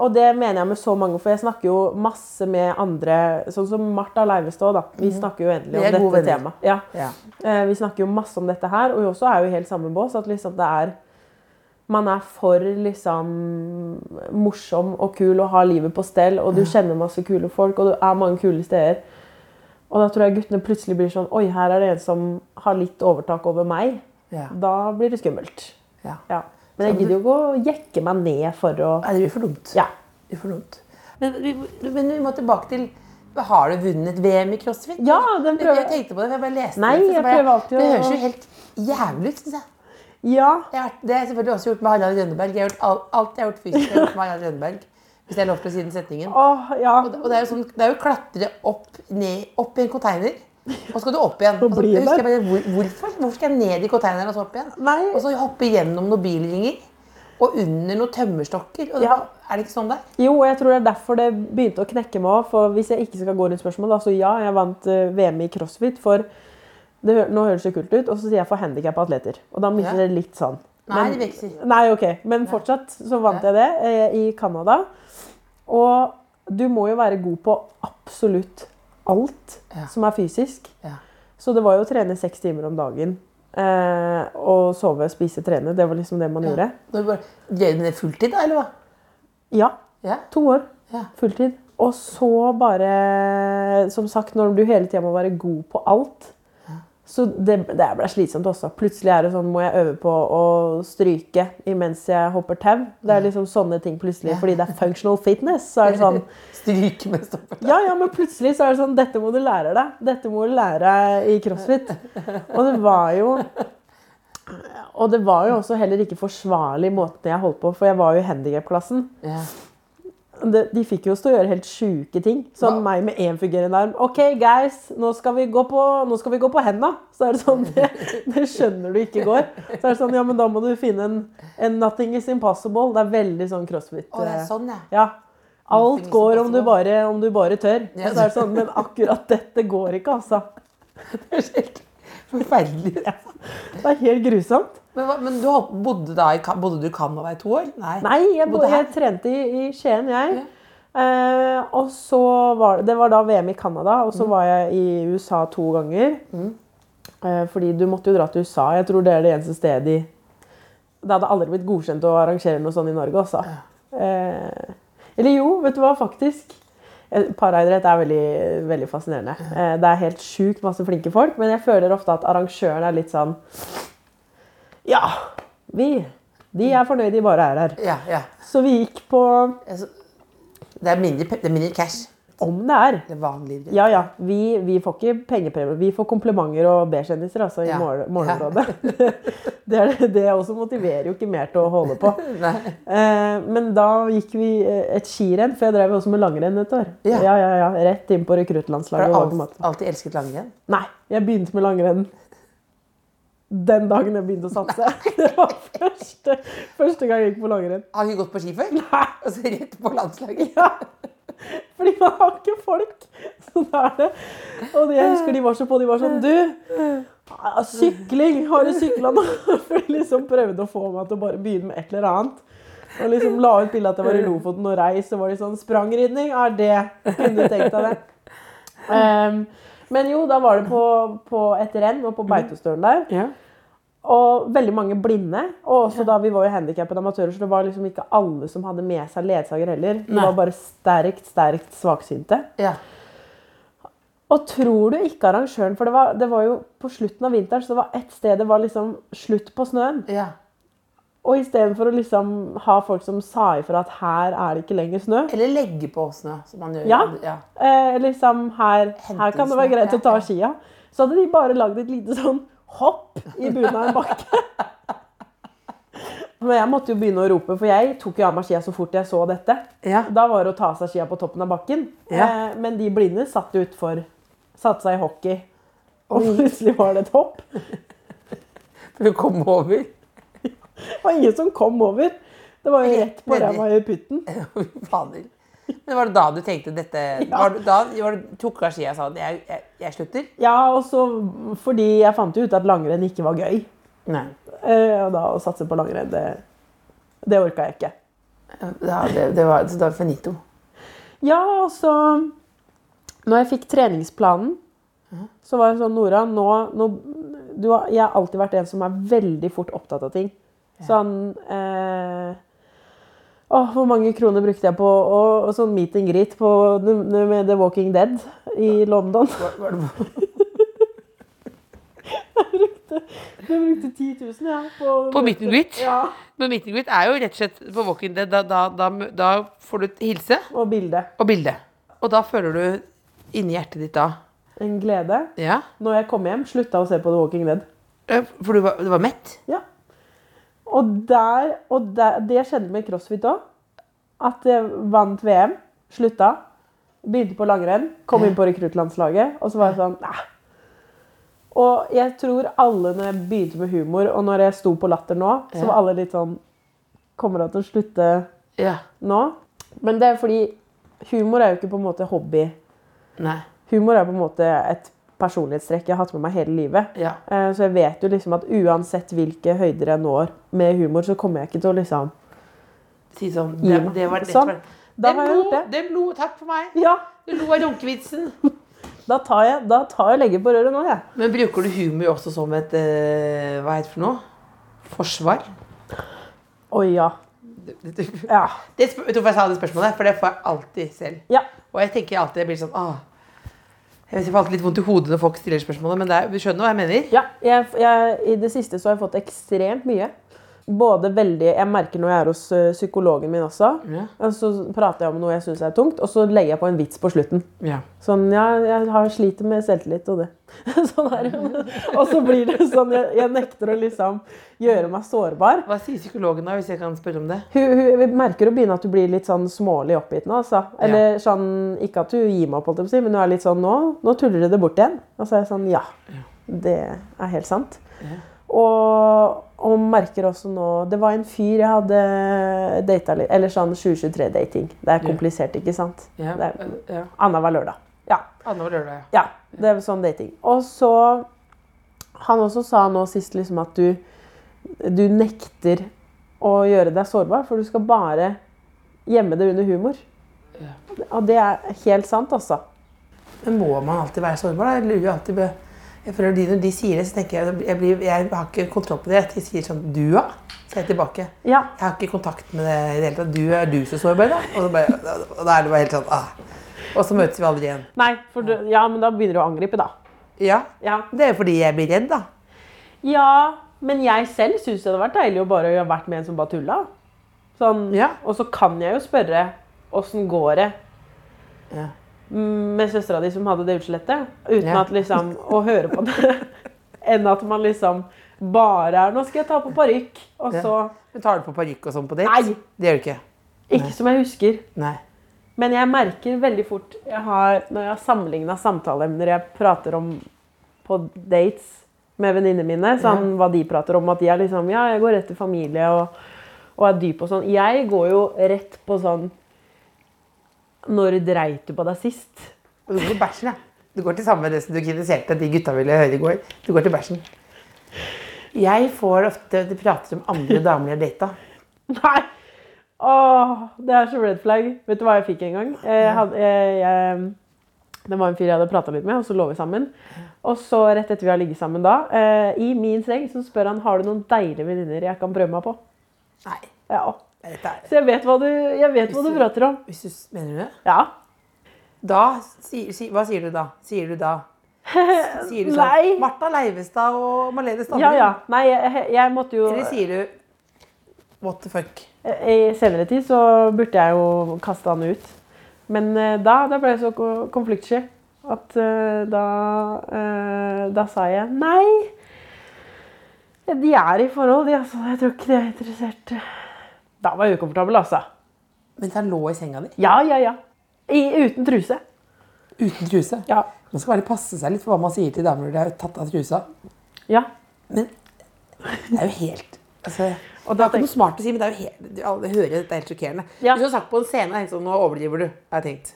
Speaker 5: og det mener jeg med så mange, for jeg snakker jo masse med andre, sånn som Martha Leivestad, da. Mhm. Vi snakker jo endelig
Speaker 3: Vi er
Speaker 5: om
Speaker 3: gode
Speaker 5: dette
Speaker 3: venner.
Speaker 5: temaet. Ja.
Speaker 3: Ja.
Speaker 5: Eh, Vi snakker jo masse om dette her, og vi også er jo i helt samme bås, at liksom det er man er for liksom morsom og kul og har livet på stell, og du kjenner masse kule folk, og du er mange kule steder. Og da tror jeg guttene plutselig blir sånn Oi, her er det en som har litt overtak over meg.
Speaker 3: Ja.
Speaker 5: Da blir det skummelt.
Speaker 3: Ja.
Speaker 5: Ja. Men jeg gidder jo ikke å jekke meg ned for å
Speaker 3: Nei, det blir for dumt.
Speaker 5: Ja.
Speaker 3: Det blir for dumt. Men vi, men vi må tilbake til har du vunnet VM i crossfit?
Speaker 5: Ja, den prøver-
Speaker 3: jeg. tenkte på det, for jeg bare leste
Speaker 5: Nei,
Speaker 3: det. så
Speaker 5: jeg
Speaker 3: bare-
Speaker 5: prøver alltid å-
Speaker 3: Det høres jo helt jævlig ut, synes jeg.
Speaker 5: Ja.
Speaker 3: jeg har, det har jeg selvfølgelig også gjort med Harald Rønneberg. Jeg har gjort alt, alt jeg har gjort fysisk, jeg har gjort med Harald Rønneberg. Hvis det er lov til å si den setningen.
Speaker 5: Åh, ja.
Speaker 3: Og det, og det er jo sånn, det er jo å klatre opp, ned, opp i en container, og så skal du opp igjen.
Speaker 5: Og
Speaker 3: Og så
Speaker 5: bli
Speaker 3: husker jeg
Speaker 5: der.
Speaker 3: bare, hvor, hvorfor? Hvorfor skal jeg ned i containeren og så opp igjen?
Speaker 5: Nei.
Speaker 3: Og så hoppe gjennom noen bilringer, og under noen tømmerstokker. Og
Speaker 5: Ja.
Speaker 3: Er det ikke sånn det er?
Speaker 5: Jo, og jeg tror det er derfor det begynte å knekke meg òg. For hvis jeg ikke skal gå rundt spørsmål, da, så ja, jeg vant eh, VM i crossfit. For det, hø- nå høres det kult ut, og så sier jeg for handikappa atleter. Og da
Speaker 3: Ja.
Speaker 5: mister det litt sånn.
Speaker 3: Nei, det virker ikke.
Speaker 5: Nei, ok. Men fortsatt så vant jeg det eh, i Canada. Og du må jo være god på absolutt alt
Speaker 3: Ja.
Speaker 5: som er fysisk.
Speaker 3: Ja.
Speaker 5: Så det var jo å trene seks timer om dagen. Eh, og sove, spise, trene. Det var liksom det man gjorde.
Speaker 3: Når du bare, gjør du det fulltid, da, eller hva?
Speaker 5: Ja.
Speaker 3: Ja.
Speaker 5: To år.
Speaker 3: Ja.
Speaker 5: Fulltid. Og så bare, som sagt, når du hele tida må være god på alt Så det, det ble slitsomt også. Plutselig er det sånn, må jeg øve på å stryke imens jeg hopper tau. Det er liksom sånne ting plutselig. Fordi det er functional fitness. så er det sånn,
Speaker 3: Stryke med stopper.
Speaker 5: ja, ja, men plutselig så er det sånn Dette må du lære deg. Dette må du lære deg i crossfit. Og det var jo Og det var jo også heller ikke forsvarlig måten jeg holdt på, for jeg var jo i handikapklassen.
Speaker 3: Ja.
Speaker 5: De, de fikk jo oss til å gjøre helt sjuke ting. Sånn meg med én fungerende arm. OK, guys, nå skal vi gå på, nå skal vi gå på henda. Så er det sånn det, det skjønner du ikke går. Så er det sånn Ja, men da må du finne en, en Nothing is impossible. Det er veldig sånn crossfit.
Speaker 3: Å, det er
Speaker 5: eh,
Speaker 3: sånn, ja.
Speaker 5: ja.
Speaker 3: Nothing
Speaker 5: Alt
Speaker 3: is
Speaker 5: går om du
Speaker 3: impossible.
Speaker 5: bare, om du bare tør. Og
Speaker 3: Ja.
Speaker 5: så er det sånn, men akkurat dette går ikke, altså.
Speaker 3: Det høres helt forferdelig ut.
Speaker 5: Det er helt grusomt.
Speaker 3: Men, hva- men du hop- bodde, da i, Ka- bodde du i Canada i to år? Nei.
Speaker 5: Nei, jeg, bo-
Speaker 3: Bodde her?
Speaker 5: jeg trente i, i Skien, jeg. Eh, og så var det, det var da VM i Canada, og så var jeg i USA to ganger. Eh, fordi du måtte jo dra til USA. Jeg tror det er det eneste stedet i Det hadde aldri blitt godkjent å arrangere noe sånt i Norge, altså. Eh, eller jo, vet du hva, faktisk. Eh, Paraidrett er veldig, veldig fascinerende. Eh, det er helt sjukt masse flinke folk, men jeg føler ofte at arrangøren er litt sånn Ja, vi. De er fornøyde, de bare er her.
Speaker 3: Ja, ja.
Speaker 5: Så vi gikk på
Speaker 3: Altså, det, er mindre, pe- det er mindre cash.
Speaker 5: Om det er.
Speaker 3: Det er vanlig. idrett.
Speaker 5: Ja, ja. Vi, vi får ikke pengepremie. Vi får komplimenter og B-kjendiser altså, i
Speaker 3: Ja.
Speaker 5: mål- målområdet. det, er, det- det også motiverer jo ikke mer til å holde på.
Speaker 3: Nei.
Speaker 5: Eh, men da gikk vi eh, et skirenn, for jeg drev jo også med langrenn et år.
Speaker 3: Ja.
Speaker 5: ja, ja, ja. Rett inn på
Speaker 3: Har
Speaker 5: rekruttlandslaget.
Speaker 3: du
Speaker 5: og var på
Speaker 3: alt,
Speaker 5: matten.
Speaker 3: alltid elsket langrenn?
Speaker 5: Nei, jeg begynte med langrenn den dagen jeg begynte å satse. Det var første, første gang jeg gikk på langrenn.
Speaker 3: Har ikke gått på ski før?
Speaker 5: Nei.
Speaker 3: Og så rett på landslaget.
Speaker 5: Ja. Fordi man har ikke folk. Sånn er det. Og jeg husker de var så på. De var sånn Du! ah, Sykling! Har du sykla nå? For de liksom prøvde å få meg til å bare begynne med et eller annet. Og liksom la ut bilde at jeg var i Lofoten og reis, og var de sånn Sprangridning? Er det Kunne du tenkt deg det? Ehm, men jo, da var det på, på et renn og på Beitostølen der.
Speaker 3: Ja.
Speaker 5: Og veldig mange blinde. Og også da vi var jo handikappede amatører, så det var liksom ikke alle som hadde med seg ledsager heller. De
Speaker 3: Nei.
Speaker 5: var bare sterkt, sterkt svaksynte.
Speaker 3: Ja.
Speaker 5: Og tror du ikke arrangøren For det var, det var jo på slutten av vinteren, så det var ett sted det var liksom slutt på snøen.
Speaker 3: ja.
Speaker 5: Og istedenfor å liksom ha folk som sa ifra at her er det ikke lenger snø,
Speaker 3: Eller legge på snø, som man gjør.
Speaker 5: Ja.
Speaker 3: ja.
Speaker 5: eh, liksom her, her kan det være
Speaker 3: snø,
Speaker 5: greit
Speaker 3: ja,
Speaker 5: å ta
Speaker 3: ja.
Speaker 5: skia, så hadde de bare lagd et lite sånn hopp i bunnen av en bakke. Men jeg måtte jo begynne å rope, for jeg tok jo av meg skia så fort jeg så dette.
Speaker 3: Ja.
Speaker 5: Da var det å ta av seg skia på toppen av bakken.
Speaker 3: Ja.
Speaker 5: Eh, men de blinde satt jo utfor, satte seg i hockey, og plutselig var det et hopp.
Speaker 3: For å komme over.
Speaker 5: Det var ingen som kom over. Det var jo rett på
Speaker 3: Veldig.
Speaker 5: ræva i putten.
Speaker 3: Fy Fader. Men var det da du tenkte dette var det, Da var det, tok du av skia og sa at jeg, jeg, jeg slutter?
Speaker 5: Ja, og så fordi jeg fant jo ut at langrenn ikke var gøy.
Speaker 3: Nei.
Speaker 5: Eh, og da å satse på langrenn, det, det orka jeg ikke.
Speaker 3: Ja, det, det var, så da var det finito.
Speaker 5: Ja, og så Når jeg fikk treningsplanen, så var jeg sånn Nora, nå, nå du har, Jeg har alltid vært en som er veldig fort opptatt av ting. Sånn eh, Åh, hvor mange kroner brukte jeg på og, og sånn meet and greet på, med The Walking Dead i London?
Speaker 3: Var, var det,
Speaker 5: Jeg brukte 10 000, jeg. På,
Speaker 6: På meet and greet?
Speaker 5: Ja,
Speaker 6: Men meet and greet er jo rett og slett på walk-in dead. Da, da, da, da får du et hilse
Speaker 5: og bilde.
Speaker 6: og bilde. Og da føler du inni hjertet ditt da
Speaker 5: En glede.
Speaker 6: Ja.
Speaker 5: Når jeg kom hjem, slutta å se på The Walking Dead.
Speaker 6: eh, For du var, du var mett?
Speaker 5: Ja. Og, der, og der, det skjedde med crossfit òg. At jeg vant VM, slutta, begynte på langrenn, kom inn på rekruttlandslaget, og så var jeg sånn Nei. Og jeg tror alle når jeg begynte med humor, og når jeg sto på Latter nå, så var alle litt sånn Kommer hun til å slutte
Speaker 6: Ja.
Speaker 5: nå? Men det er fordi humor er jo ikke på en måte hobby.
Speaker 6: Nei.
Speaker 5: Humor er på en måte et personlighetstrekk jeg har hatt med meg hele livet.
Speaker 6: Ja.
Speaker 5: Eh, Så jeg vet jo liksom at uansett hvilke høyder jeg når med humor, så kommer jeg ikke til å liksom
Speaker 6: Si sånn.
Speaker 5: gi
Speaker 6: Det,
Speaker 5: meg.
Speaker 6: det var det.
Speaker 5: sånn.
Speaker 6: var-
Speaker 5: Da
Speaker 6: Det
Speaker 5: har
Speaker 6: er
Speaker 5: jeg gjort
Speaker 6: blod,
Speaker 5: det.
Speaker 6: det er blod. Takk for meg.
Speaker 5: Ja,
Speaker 6: Du lo av runkevitsen.
Speaker 5: da tar jeg, da tar jeg legger på røret nå, jeg.
Speaker 6: Men bruker du humor også som et eh, Hva heter det for noe? Forsvar?
Speaker 5: Å ja.
Speaker 6: Det, det,
Speaker 5: Ja.
Speaker 6: det, spør- vet du hvorfor jeg sa det spørsmålet? For det får jeg alltid selv.
Speaker 5: ja.
Speaker 6: Og jeg tenker alltid, jeg blir sånn ah, Jeg vet jeg får alltid litt vondt i hodet når folk stiller spørsmålet, men det er, du skjønner hva jeg mener?
Speaker 5: ja. Jeg, jeg, I det siste så har jeg fått ekstremt mye. Både veldig Jeg merker når jeg er hos ø, psykologen min også.
Speaker 6: Ja.
Speaker 5: Og så prater jeg om noe jeg syns er tungt, og så legger jeg på en vits på slutten.
Speaker 6: Ja.
Speaker 5: Sånn, ja, jeg har sliter med selvtillit og det. sånn er det jo. Og så blir det sånn, jeg, jeg nekter å liksom gjøre meg sårbar.
Speaker 6: Hva sier psykologen da, hvis jeg kan spørre om det?
Speaker 5: Hun, hun jeg merker å begynne at du blir litt sånn smålig oppgitt nå, altså. Eller sånn, ikke at du gir meg opp, holdt jeg på å si, men du er litt sånn, nå, nå tuller du det bort igjen. Og så er jeg sånn, ja, det er helt sant. Og, og merker også nå, det var en fyr jeg hadde datet litt, eller sånn 2023-dating. Det er komplisert, ikke sant?
Speaker 6: Ja.
Speaker 5: Det er,
Speaker 6: ja.
Speaker 5: Anna var lørdag. Ja,
Speaker 6: Annenhver lørdag, ja.
Speaker 5: ja, det er sånn dating. Og så Han også sa nå sist liksom at du, du nekter å gjøre deg sårbar, for du skal bare gjemme det under humor. Og det er helt sant, altså.
Speaker 3: men må man alltid være sårbar? Da? Jeg lurer jo alltid på jeg føler de, Når de sier det, så tenker jeg jeg, blir, jeg har ikke kontroll på det. At de sier sånn Du, ja? Så er jeg tilbake.
Speaker 5: Ja.
Speaker 3: Jeg har ikke kontakt med det i det hele tatt. Du er du så sårbar, da. Og, så bare, og da er det bare helt sånn ah. Og så møtes vi aldri igjen.
Speaker 5: Nei, for du, ja, men da begynner du å angripe, da.
Speaker 3: Ja.
Speaker 5: Ja,
Speaker 3: Det er jo fordi jeg blir redd, da.
Speaker 5: ja men jeg selv syns det hadde vært deilig å bare ha vært med en som bare tulla. Sånn,
Speaker 3: Ja.
Speaker 5: Og så kan jeg jo spørre åssen går det
Speaker 3: Ja.
Speaker 5: Mm, med søstera di som hadde det utslettet, uten
Speaker 3: Ja.
Speaker 5: at liksom å høre på det, enn at man liksom bare er Nå skal jeg ta på parykk, og
Speaker 3: Ja.
Speaker 5: så
Speaker 3: Men tar du på parykk og sånn på date?
Speaker 5: Nei.
Speaker 3: Det gjør du ikke.
Speaker 5: Ikke som jeg husker,
Speaker 3: Nei.
Speaker 5: men jeg merker veldig fort jeg har, når jeg har sammenligna samtaleemner jeg prater om på dates, med venninnene mine. Sånn, Hva de prater om. At de er liksom Ja, jeg går rett til familie og, og er dyp og sånn. Jeg går jo rett på sånn Når dreit du på deg sist?
Speaker 3: Og du går til bæsjen, ja. Du går til samme det som du kritiserte at de gutta ville høre i går. Du går til bæsjen. Jeg får ofte De prater om andre damer de har data.
Speaker 5: Nei! Åh, det er så red flag. Vet du hva jeg fikk en gang? Jeg hadde, jeg, jeg, det var en fyr jeg hadde prata litt med, og så lå vi sammen. Og så rett etter vi har ligget sammen da, eh, i min seng, så spør han har du noen deilige venninner jeg kan prøve meg på.
Speaker 3: Nei.
Speaker 5: Ja.
Speaker 3: Dette er
Speaker 5: Så jeg vet hva du, jeg vet hva du prater om.
Speaker 3: Hvis du, mener du det?
Speaker 5: Ja.
Speaker 3: Da sier, sier- Hva sier du da? Sier du da Sier du sånn
Speaker 5: Nei.
Speaker 3: Martha Leivestad og Malene Stavrum?
Speaker 5: Ja, ja. Nei, jeg, jeg måtte jo
Speaker 3: Eller sier du What the fuck?
Speaker 5: I senere tid så burde jeg jo kaste han ut. Men eh, da, da ble jeg så ko- konfliktsky at eh, da, eh, da sa jeg nei. De er i forhold, de altså. Jeg tror ikke de er interessert. Da var jeg ukomfortabel, altså.
Speaker 3: Mens han lå i senga di
Speaker 5: Ja, ja, ja. I, uten truse.
Speaker 3: uten truse?
Speaker 5: Ja.
Speaker 3: Man skal bare passe seg litt for hva man sier til damer når de har tatt av trusa.
Speaker 5: ja.
Speaker 3: Men det er jo helt altså, Det
Speaker 5: Og da
Speaker 3: er ikke
Speaker 5: tenk-
Speaker 3: noe smart å si, men det er jo helt, du- alle hører det, det er helt sjokkerende.
Speaker 5: Ja.
Speaker 3: Hvis du har sagt på en scene er det sånn, nå overdriver du, har jeg tenkt.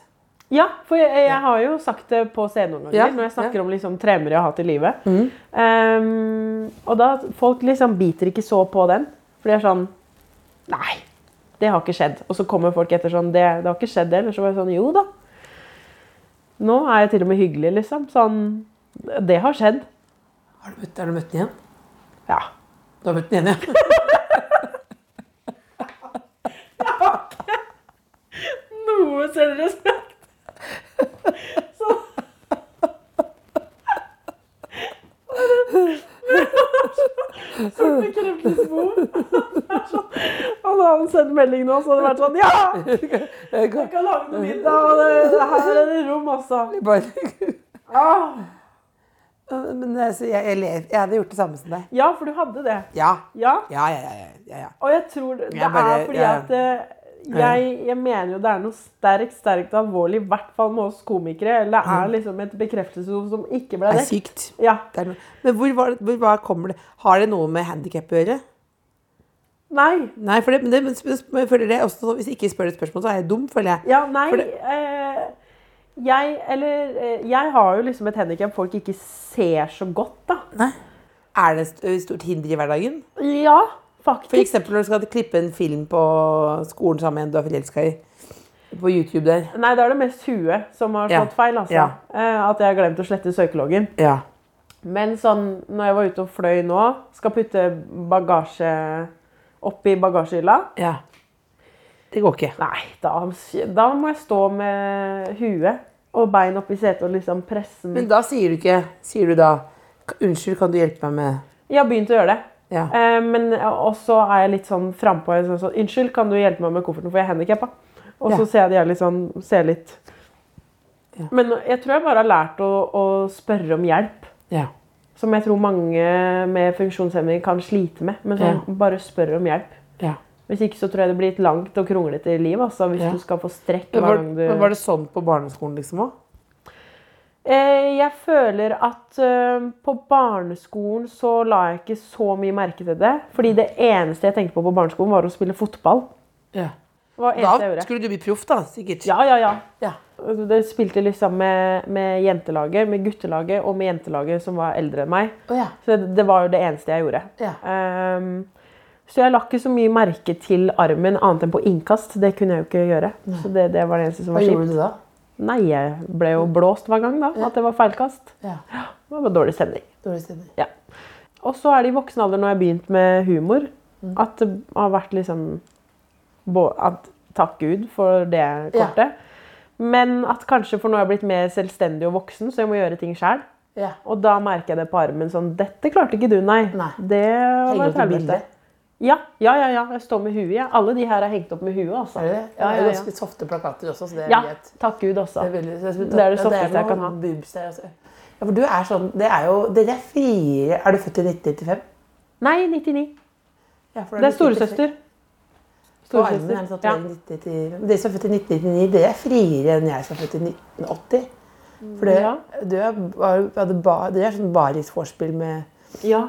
Speaker 5: Ja, for jeg, jeg har jo sagt det på scenen noen ganger,
Speaker 3: Ja,
Speaker 5: når jeg snakker om liksom tremer jeg har hatt i livet. Ehm, og da, folk liksom biter ikke så på den, for de er sånn, nei, det har ikke skjedd. Og så kommer folk etter sånn, det, det har ikke skjedd det, eller så var jeg sånn, jo da. Nå er jeg til og med hyggelig, liksom. Sånn, det har skjedd.
Speaker 3: Har du møtt, har du møtt den igjen?
Speaker 5: Ja.
Speaker 3: Du har møtt den igjen, ja.
Speaker 5: Noe selvrespekt. Så... Så bekreftelsesbord. sånn- Han hadde sendt melding nå, så hadde det vært sånn Ja!
Speaker 3: Jeg
Speaker 5: Jeg kan lage noe middag, og det, det her er det rom, altså.
Speaker 3: kan bare...
Speaker 5: Ah.
Speaker 3: Men altså, jeg, jeg, ler. jeg hadde gjort det samme som deg.
Speaker 5: Ja, for du hadde det.
Speaker 3: Ja,
Speaker 5: Ja.
Speaker 3: ja, ja, ja, ja, ja.
Speaker 5: Og jeg tror det
Speaker 3: Jeg bare-
Speaker 5: er fordi
Speaker 3: jeg-
Speaker 5: at eh, jeg, jeg mener jo det er noe sterkt, sterkt alvorlig, i hvert fall med oss komikere. Eller det
Speaker 3: Mm.
Speaker 5: er liksom et bekreftelsesord som ikke ble
Speaker 3: Det er
Speaker 5: det.
Speaker 3: sykt.
Speaker 5: Ja.
Speaker 3: Det er noe- Men hvor, var det- hvor, hva kommer det? Har det noe med handicap å gjøre?
Speaker 5: Nei.
Speaker 3: Nei, for det, men det, men sp- sp- men føler det også, sånn, hvis jeg ikke spør et spørsmål, så er jeg dum, føler jeg.
Speaker 5: Ja, nei
Speaker 3: For det-
Speaker 5: eh, jeg, eller, eh, jeg har jo liksom et handikap folk ikke ser så godt, da.
Speaker 3: Er det et stort hinder i hverdagen?
Speaker 5: Ja,
Speaker 3: For
Speaker 5: faktisk.
Speaker 3: eksempel når du skal klippe en film på skolen sammen med en du er forelska i. På YouTube der.
Speaker 5: Nei, da er det mest huet som har
Speaker 3: Ja,
Speaker 5: slått feil. altså.
Speaker 3: ja.
Speaker 5: Eh, at jeg har glemt å slette søkeloggen.
Speaker 3: Ja.
Speaker 5: Men sånn, når jeg var ute og fløy nå, skal putte bagasje oppi bagasjehylla
Speaker 3: ja. Det går ikke.
Speaker 5: Nei, da, da må jeg stå med huet og bein oppi setet og liksom presse den.
Speaker 3: Men da sier du ikke Sier du da "K- 'Unnskyld, kan du hjelpe meg med
Speaker 5: Jeg har begynt å gjøre det.
Speaker 3: Ja.
Speaker 5: Eh, men også er jeg litt sånn frampå. Sånn, sånn, 'Unnskyld, kan du hjelpe meg med kofferten, for jeg er handikappa?' Og
Speaker 3: Ja.
Speaker 5: så ser jeg de er litt sånn ser litt. Men jeg tror jeg bare har lært å, å spørre om hjelp.
Speaker 3: Ja.
Speaker 5: Som jeg tror mange med funksjonshemning kan slite med. Men sånn,
Speaker 3: Ja.
Speaker 5: bare spørre om hjelp.
Speaker 3: ja.
Speaker 5: Hvis ikke så tror jeg det blir et langt og kronglete liv altså, hvis
Speaker 3: Ja.
Speaker 5: du skal få strekk
Speaker 3: Men
Speaker 5: hver
Speaker 3: var,
Speaker 5: gang
Speaker 3: men var
Speaker 5: du
Speaker 3: det sånn på barneskolen liksom òg?
Speaker 5: Eh, Jeg føler at eh, på barneskolen så la jeg ikke så mye merke til det. Fordi det eneste jeg tenkte på på barneskolen, var å spille fotball.
Speaker 3: Ja.
Speaker 5: Det var det
Speaker 3: Da
Speaker 5: eneste jeg gjorde.
Speaker 3: skulle du bli proff, da, sikkert.
Speaker 5: Ja, ja, ja.
Speaker 3: Ja.
Speaker 5: Det spilte liksom med, med jentelaget, med guttelaget og med jentelaget som var eldre enn meg.
Speaker 3: Å, ja.
Speaker 5: Så det, det var jo det eneste jeg gjorde.
Speaker 3: Ja.
Speaker 5: Ehm, så jeg la ikke så mye merke til armen annet enn på innkast. Det kunne jeg jo ikke gjøre. Så det, det var det eneste som
Speaker 3: Hva
Speaker 5: var
Speaker 3: gjorde
Speaker 5: kjipt.
Speaker 3: du da?
Speaker 5: Nei, jeg ble jo blåst hver gang da, at det var feilkast.
Speaker 3: Ja.
Speaker 5: Det var dårlig stemning.
Speaker 3: Dårlig stemning.
Speaker 5: Ja. Og så er det i voksen alder, når jeg har begynt med humor,
Speaker 3: Mm.
Speaker 5: at det har vært liksom bå- at, Takk Gud for det kortet. Men at kanskje for nå har jeg blitt mer selvstendig og voksen, så jeg må gjøre ting sjæl.
Speaker 3: Ja.
Speaker 5: Og da merker jeg det på armen sånn Dette klarte ikke du, nei.
Speaker 3: Nei.
Speaker 5: Det var
Speaker 3: Henger
Speaker 5: et
Speaker 3: du til
Speaker 5: helvete.
Speaker 3: bildet?
Speaker 5: Ja, ja, ja, ja. Jeg står med huet. jeg. Alle de her er hengt opp med huet, altså.
Speaker 3: Er det det?
Speaker 5: Ja,
Speaker 3: det er
Speaker 5: ja,
Speaker 3: ganske
Speaker 5: ja.
Speaker 3: softe plakater også, så det er
Speaker 5: ja
Speaker 3: greit.
Speaker 5: takk Gud, altså.
Speaker 3: Det er, veldig, så jeg
Speaker 5: Det er det
Speaker 3: ja,
Speaker 5: softeste jeg kan
Speaker 3: noe
Speaker 5: ha.
Speaker 3: boobs der, altså. Ja, for du er sånn, det er jo, dere er fire, er du født i 1995?
Speaker 5: Nei, 99.
Speaker 3: Ja, for
Speaker 5: Det er storesøster.
Speaker 3: På armen er sånn det tatuering 1995. Men Dere som er født i 1999, dere er friere enn jeg som er født i 1980. For dere,
Speaker 5: Ja.
Speaker 3: dere, var, hadde ba, dere er sånn baris vorspiel med
Speaker 5: Ja,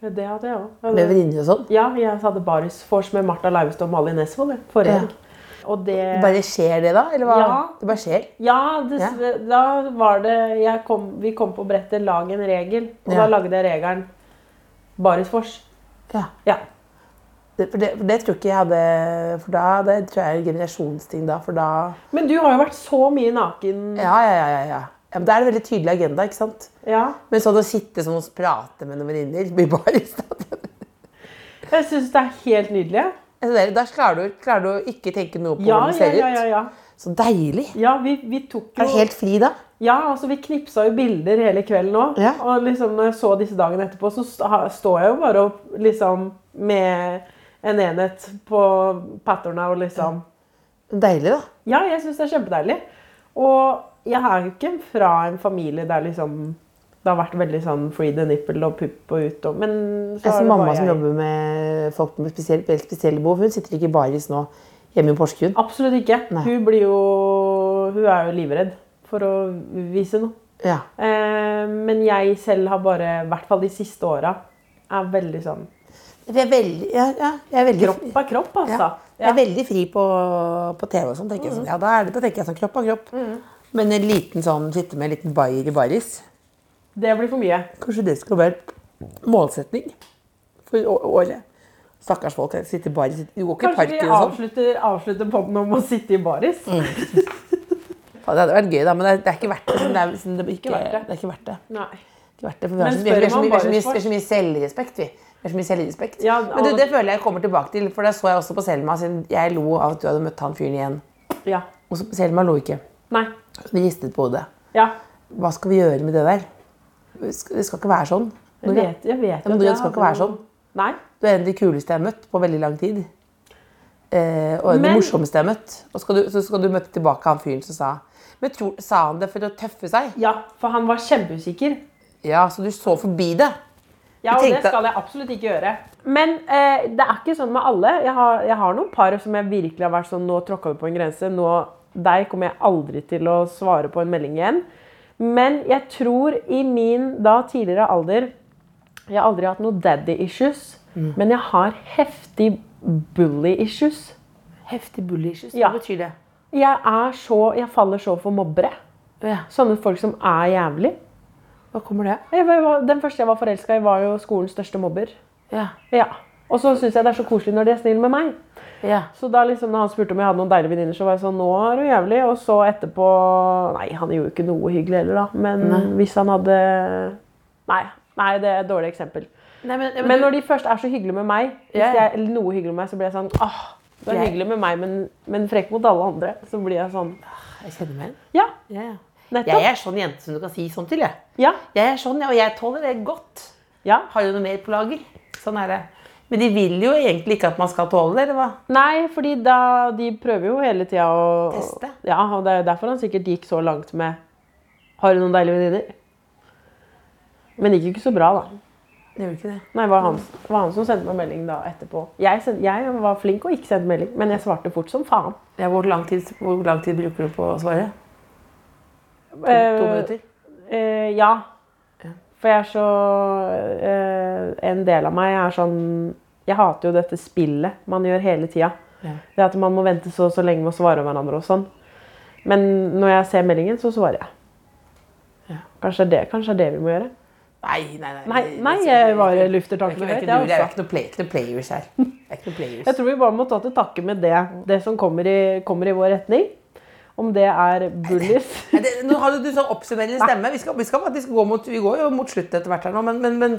Speaker 5: det hadde jeg òg.
Speaker 3: Med venninner og sånn.
Speaker 5: Ja, jeg hadde barisvors med Martha Leivestad og Malin Nesvold jeg, forrige
Speaker 3: Ja.
Speaker 5: helg. Og det
Speaker 3: Bare skjer det, da? Eller hva?
Speaker 5: Ja.
Speaker 3: Det bare skjer?
Speaker 5: Ja, dessver- da var det jeg kom, Vi kom på brettet 'lag en regel', og
Speaker 3: Ja.
Speaker 5: da lagde jeg regelen barisvors.
Speaker 3: Ja.
Speaker 5: Ja.
Speaker 3: Det, for, det, for det tror ikke jeg hadde For da det tror jeg er en generasjonsting, da. For da
Speaker 5: Men du har jo vært så mye naken.
Speaker 3: Ja, ja, ja. ja, ja. ja men da er det veldig tydelig agenda, ikke sant?
Speaker 5: Ja.
Speaker 3: Men sånn å sitte sånn og prate med noen venninner blir bare sånn. i stedet.
Speaker 5: Jeg syns det er helt nydelig.
Speaker 3: Altså, det er- Da klarer du, klarer du å ikke tenke noe på
Speaker 5: Ja,
Speaker 3: hvordan du
Speaker 5: ja,
Speaker 3: ser
Speaker 5: ja. ja,
Speaker 3: ut.
Speaker 5: ja.
Speaker 3: Så deilig!
Speaker 5: ja vi, vi tok
Speaker 3: Er du
Speaker 5: jo
Speaker 3: helt fri da?
Speaker 5: Ja, altså vi knipsa jo bilder hele kvelden òg.
Speaker 3: Ja.
Speaker 5: Og liksom når jeg så disse dagene etterpå, så st- ha- står jeg jo bare og liksom med en enhet på patterna og liksom
Speaker 3: Deilig, da.
Speaker 5: Ja, jeg syns det er kjempedeilig. Og jeg er jo ikke fra en familie der liksom det har vært veldig sånn free the nipple og pupp og ut og Men så
Speaker 3: Jeg
Speaker 5: har
Speaker 3: som
Speaker 5: det
Speaker 3: mamma
Speaker 5: bare
Speaker 3: som
Speaker 5: jeg-
Speaker 3: jobber med folk med spesielle, helt spesielle behov, hun sitter ikke i baris nå hjemme i Porsgrunn.
Speaker 5: Absolutt ikke.
Speaker 3: Nei.
Speaker 5: Hun blir jo Hun er jo livredd for å vise noe.
Speaker 3: Ja.
Speaker 5: Eh, men jeg selv har bare, i hvert fall de siste åra, er veldig sånn
Speaker 3: Jeg er veldig, ja, ja, jeg er veldig
Speaker 5: Kropp er kropp, altså.
Speaker 3: Ja. Jeg er
Speaker 5: Ja.
Speaker 3: veldig fri på, på TV og sånn. tenker jeg sånn. Ja, da, er det, da tenker jeg sånn kropp av kropp. Men en liten sånn, sitte med en liten bayer i baris
Speaker 5: Det blir for mye.
Speaker 3: Kanskje det skulle være målsetning for å- året. Stakkars folk. jeg Sitter bare, sitter, du går ikke i
Speaker 5: Kanskje vi
Speaker 3: parken og sånn. Mm.
Speaker 5: avslutter, avslutter podden om å sitte i baris?
Speaker 3: Ja, Det hadde vært gøy, da, men det er, det er ikke verdt det. siden Det er, siden det, ikke,
Speaker 5: verdt det.
Speaker 3: det er ikke verdt det.
Speaker 5: Nei.
Speaker 3: Ikke verdt det, for vi har
Speaker 5: Men
Speaker 3: så, vi har, vi har så,
Speaker 5: spør man
Speaker 3: mye- vi har så, mye-
Speaker 5: bare
Speaker 3: vi har så mye selvrespekt, vi. Vi har så mye selvrespekt.
Speaker 5: Ja,
Speaker 3: Men du,
Speaker 5: og-
Speaker 3: det føler jeg kommer tilbake til, for det så jeg også på Selma. Siden jeg lo av at du hadde møtt han fyren igjen.
Speaker 5: Ja.
Speaker 3: Og så Selma lo ikke.
Speaker 5: Nei.
Speaker 3: Hun ristet på hodet.
Speaker 5: Ja.
Speaker 3: Hva skal vi gjøre med det der? Det skal det skal ikke være sånn.
Speaker 5: Jeg vet, jeg vet
Speaker 3: Ja, men
Speaker 5: at
Speaker 3: du,
Speaker 5: jeg
Speaker 3: det skal ikke
Speaker 5: hadde
Speaker 3: være
Speaker 5: noen-
Speaker 3: sånn.
Speaker 5: Nei.
Speaker 3: Du er en av de kuleste jeg har møtt på veldig lang tid. Eh, og en av de
Speaker 5: Men-
Speaker 3: morsomste jeg har møtt. Og skal du, så skal du møte tilbake han fyren som sa Men tror, sa han det for å tøffe seg?
Speaker 5: Ja, for han var kjempeusikker.
Speaker 3: Ja, så du så forbi det? Jeg
Speaker 5: Ja, og det
Speaker 3: tenkte-
Speaker 5: skal jeg absolutt ikke gjøre. Men eh, det er ikke sånn med alle. Jeg har, jeg har noen par som jeg virkelig har vært sånn Nå tråkka vi på en grense. Nå, deg kommer jeg aldri til å svare på en melding igjen. Men jeg tror i min da tidligere alder Jeg har aldri hatt noe daddy issues,
Speaker 3: Mm.
Speaker 5: men jeg har heftig bully issues.
Speaker 3: Heftig bully issues.
Speaker 5: Ja.
Speaker 3: Hva betyr det?
Speaker 5: Jeg, er så, jeg faller så for mobbere.
Speaker 3: Ja.
Speaker 5: Sånne folk som er jævlig.
Speaker 3: Hva kommer det?
Speaker 5: Jeg var, den første jeg var forelska i, var jo skolens største mobber.
Speaker 3: Ja.
Speaker 5: Ja. Og så syns jeg det er så koselig når de er snille med meg.
Speaker 3: ja.
Speaker 5: Så da liksom, når han spurte om jeg hadde noen deilige venninner, så var jeg sånn Nå er du jævlig. Og så etterpå Nei, han gjorde jo ikke noe hyggelig heller, da. Men hvis han hadde Nei. Nei, det er et dårlig eksempel.
Speaker 3: Nei, men,
Speaker 5: Men når de først er så hyggelige med meg, hvis
Speaker 3: Ja,
Speaker 5: de
Speaker 3: ja.
Speaker 5: er noe hyggelige med meg, så blir jeg sånn Åh, du er
Speaker 3: Jeg-
Speaker 5: hyggelig med meg, men, men frekk mot alle andre. Så blir jeg sånn
Speaker 3: Jeg kjenner meg igjen.
Speaker 5: Ja,
Speaker 3: Ja, ja. Jeg
Speaker 5: nettopp.
Speaker 3: er sånn jente som du kan si sånn til, jeg.
Speaker 5: Ja.
Speaker 3: Jeg er sånn, ja, og jeg tåler det godt.
Speaker 5: ja.
Speaker 3: Har du noe mer på lager? Sånn er det. Men de vil jo egentlig ikke at man skal tåle det, eller hva?
Speaker 5: Nei, fordi da, de prøver jo hele tida å
Speaker 3: Teste.
Speaker 5: Ja, og det er derfor han sikkert gikk så langt med Har du noen deilige venninner? Men det gikk jo ikke så bra, da.
Speaker 3: Det gjør ikke det.
Speaker 5: Nei, det var han, det var han som sendte meg melding da etterpå. Jeg, send, jeg var flink og ikke sendte melding, men jeg svarte fort som faen.
Speaker 3: Ja, hvor, lang tid, hvor lang tid bruker du på å svare? To, to minutter?
Speaker 5: Eh, ja. For jeg er så eh, En del av meg er sånn Jeg hater jo dette spillet man gjør hele tida.
Speaker 3: Ja.
Speaker 5: Det at man må vente så og så lenge med å svare hverandre og sånn. Men når jeg ser meldingen, så svarer jeg. Kanskje det, kanskje det er det vi må gjøre.
Speaker 3: Nei, nei, nei.
Speaker 5: Nei, nei jeg bare lufter
Speaker 3: Det er ikke
Speaker 5: tankene
Speaker 3: noe-
Speaker 5: høyt.
Speaker 3: det er
Speaker 5: Jeg,
Speaker 3: ikke
Speaker 5: også.
Speaker 3: noe play- det er ikke noe players her. Det er ikke noe players.
Speaker 5: jeg tror vi bare må ta til takke med det, det som kommer i, kommer i vår retning. Om det er bullies
Speaker 3: Nei, det, nå har du, du sånn oppsummerende stemme. Vi, skal, vi, skal faktisk gå mot, vi går jo mot slutten etter hvert her nå, men, men, men,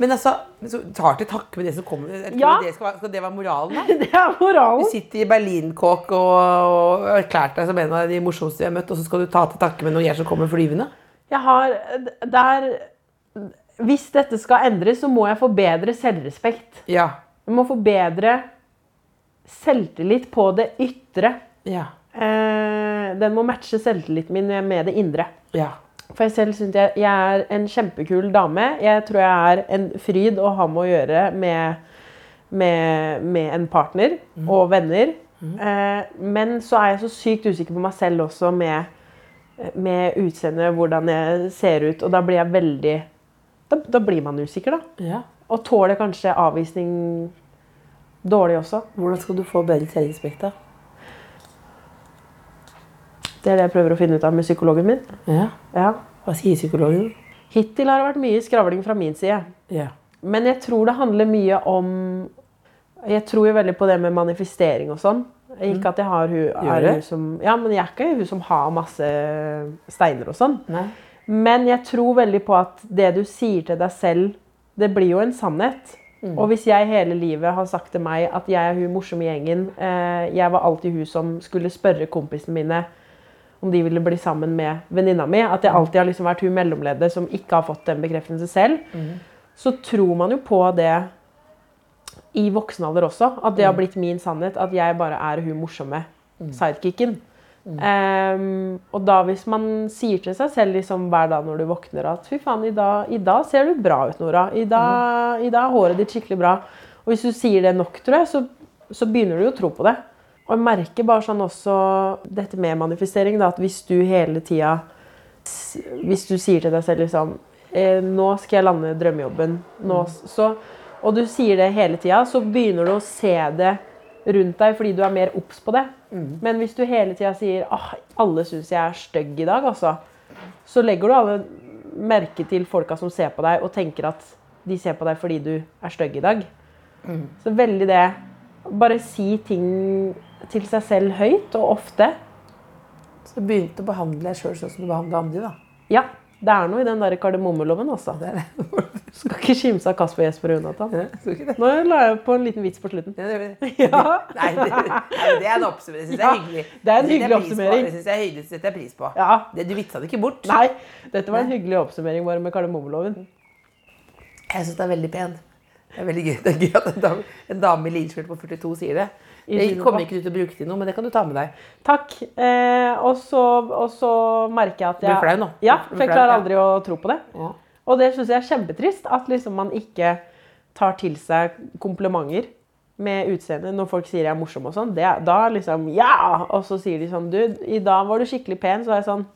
Speaker 3: men altså så Tar til takke med det som kommer. Jeg tror
Speaker 5: Ja.
Speaker 3: Det skal, være- skal det være moralen her?
Speaker 5: Det er
Speaker 3: Du
Speaker 5: moralen.
Speaker 3: sitter i berlinkåk og, og har erklært deg som en av de morsomste jeg har møtt, og så skal du ta til takke med noen jeg som kommer flyvende?
Speaker 5: Jeg har Det er Hvis dette skal endres, så må jeg få bedre selvrespekt.
Speaker 3: Ja.
Speaker 5: Jeg må få bedre selvtillit på det ytre.
Speaker 3: Ja.
Speaker 5: Eh, den må matche selvtilliten min med det indre.
Speaker 3: Ja.
Speaker 5: For jeg selv syns jeg, jeg er en kjempekul dame. Jeg tror jeg er en fryd å ha med å gjøre med, med, med en partner
Speaker 3: Mhm.
Speaker 5: og venner. Eh, men så er jeg så sykt usikker på meg selv også med, med utseendet, hvordan jeg ser ut. Og da blir jeg veldig Da, da blir man usikker, da.
Speaker 3: Ja.
Speaker 5: Og tåler kanskje avvisning dårlig også.
Speaker 3: Hvordan skal du få bedre selvrespekt, da?
Speaker 5: Det er det jeg prøver å finne ut av med psykologen min.
Speaker 3: Ja.
Speaker 5: Ja.
Speaker 3: Hva sier psykologen?
Speaker 5: Hittil har det vært mye skravling fra min side.
Speaker 3: Ja.
Speaker 5: Men jeg tror det handler mye om Jeg tror jo veldig på det med manifestering og sånn. Ikke at jeg har hun,
Speaker 3: Mm. Gjør
Speaker 5: er
Speaker 3: det?
Speaker 5: hun som Ja, men jeg er ikke hun som har masse steiner og sånn.
Speaker 3: Nei.
Speaker 5: Men jeg tror veldig på at det du sier til deg selv, det blir jo en sannhet.
Speaker 3: Mm.
Speaker 5: Og hvis jeg hele livet har sagt til meg at jeg er hun morsomme i gjengen, eh, jeg var alltid hun som skulle spørre kompisene mine om de ville bli sammen med venninna mi, at jeg alltid har liksom vært hun mellomleddet som ikke har fått den bekreftelsen selv, så tror man jo på det i voksen alder også. At det har blitt min sannhet, at jeg bare er hun morsomme sidekicken. Ehm, og da hvis man sier til seg selv liksom hver dag når du våkner at fy faen, i dag, i dag ser du bra ut, Nora. I dag, I dag er håret ditt skikkelig bra. Og hvis du sier det nok, tror jeg, så, så begynner du jo å tro på det. Og jeg merker bare sånn også dette med manifestering, da, at hvis du hele tida hvis du sier til deg selv liksom eh, Nå skal jeg lande drømmejobben. Nå, s- så, og du sier det hele tida, så begynner du å se det rundt deg fordi du er mer obs på det. Men hvis du hele tida sier ah, 'alle syns jeg er stygg i dag', altså, så legger du alle merke til folka som ser på deg og tenker at de ser på deg fordi du er stygg i dag. Så veldig det Bare si ting til seg selv høyt og ofte.
Speaker 3: Så begynte å behandle deg sjøl sånn som du behandla andre, da.
Speaker 5: Ja, det er noe i den der kardemommeloven, altså.
Speaker 3: Det er det.
Speaker 5: Skal ikke kimse av Kasper, Jesper og Jonathan.
Speaker 3: Ja, Skal ikke det?
Speaker 5: Nå la jeg på en liten vits på slutten.
Speaker 3: Ja, det gjør vi.
Speaker 5: Ja.
Speaker 3: Nei, det, nei, det er en oppsummering. Det syns jeg er
Speaker 5: Ja,
Speaker 3: hyggelig.
Speaker 5: det er en
Speaker 3: Det setter jeg pris på.
Speaker 5: hyggelig oppsummering.
Speaker 3: Det syns jeg er hyggelig. Det setter jeg pris på.
Speaker 5: Ja.
Speaker 3: Det, du vitsa det ikke bort.
Speaker 5: Nei, dette var en hyggelig oppsummering bare med kardemommeloven.
Speaker 3: Jeg syns det er veldig pen. Det er veldig gøy, det er gøy at en dame, en dame i linskjørt på 42 sier det.
Speaker 5: I
Speaker 3: Det
Speaker 5: Silopa.
Speaker 3: kommer ikke du til å bruke til noe, men det kan du ta med deg.
Speaker 5: Takk. Eh, og, så, og så merker jeg at
Speaker 3: Du blir
Speaker 5: jeg
Speaker 3: flau nå.
Speaker 5: Ja,
Speaker 3: Du blir
Speaker 5: for jeg
Speaker 3: flau,
Speaker 5: klarer
Speaker 3: ja.
Speaker 5: aldri å tro på det.
Speaker 3: Ja.
Speaker 5: Og det syns jeg er kjempetrist. At liksom man ikke tar til seg komplimenter med utseendet når folk sier jeg er morsom og sånn. det- Da liksom Ja! Og så sier de sånn Du, i dag var du skikkelig pen. Så er jeg sånn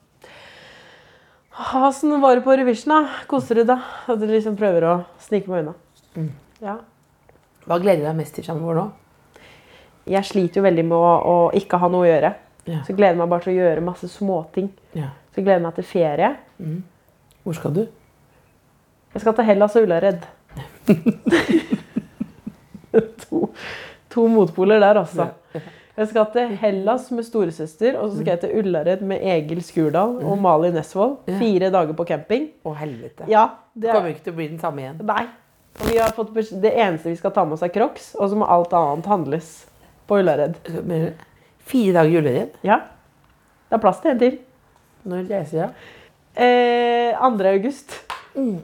Speaker 5: Åssen var det på Revision, da? Koser du deg? At du liksom prøver å snike meg unna. Ja.
Speaker 3: Hva gleder du deg mest til framover nå?
Speaker 5: Jeg sliter jo veldig med å, å ikke ha noe å gjøre.
Speaker 3: Ja.
Speaker 5: Så gleder jeg meg bare til å gjøre masse småting. Så gleder jeg meg til ferie.
Speaker 3: Hvor skal du?
Speaker 5: Jeg skal til Hellas og Ullared. to, to motpoler der, altså. Jeg skal til Hellas med storesøster, og så skal jeg til Ullared med Egil Skurdal og Mali Nesvold. Fire dager på camping.
Speaker 3: Å, helvete.
Speaker 5: Ja, det
Speaker 3: Det kommer jo ikke til å bli den samme igjen.
Speaker 5: Nei. Og vi har fått besk- det eneste vi skal ta med oss, er Crocs, og så må alt annet handles på Ullared.
Speaker 3: Mener du? Fire dager juleferien.
Speaker 5: Ja. Det er plass til en til.
Speaker 3: Når reiser jeg?
Speaker 5: Eh, 2. august.
Speaker 3: Jeg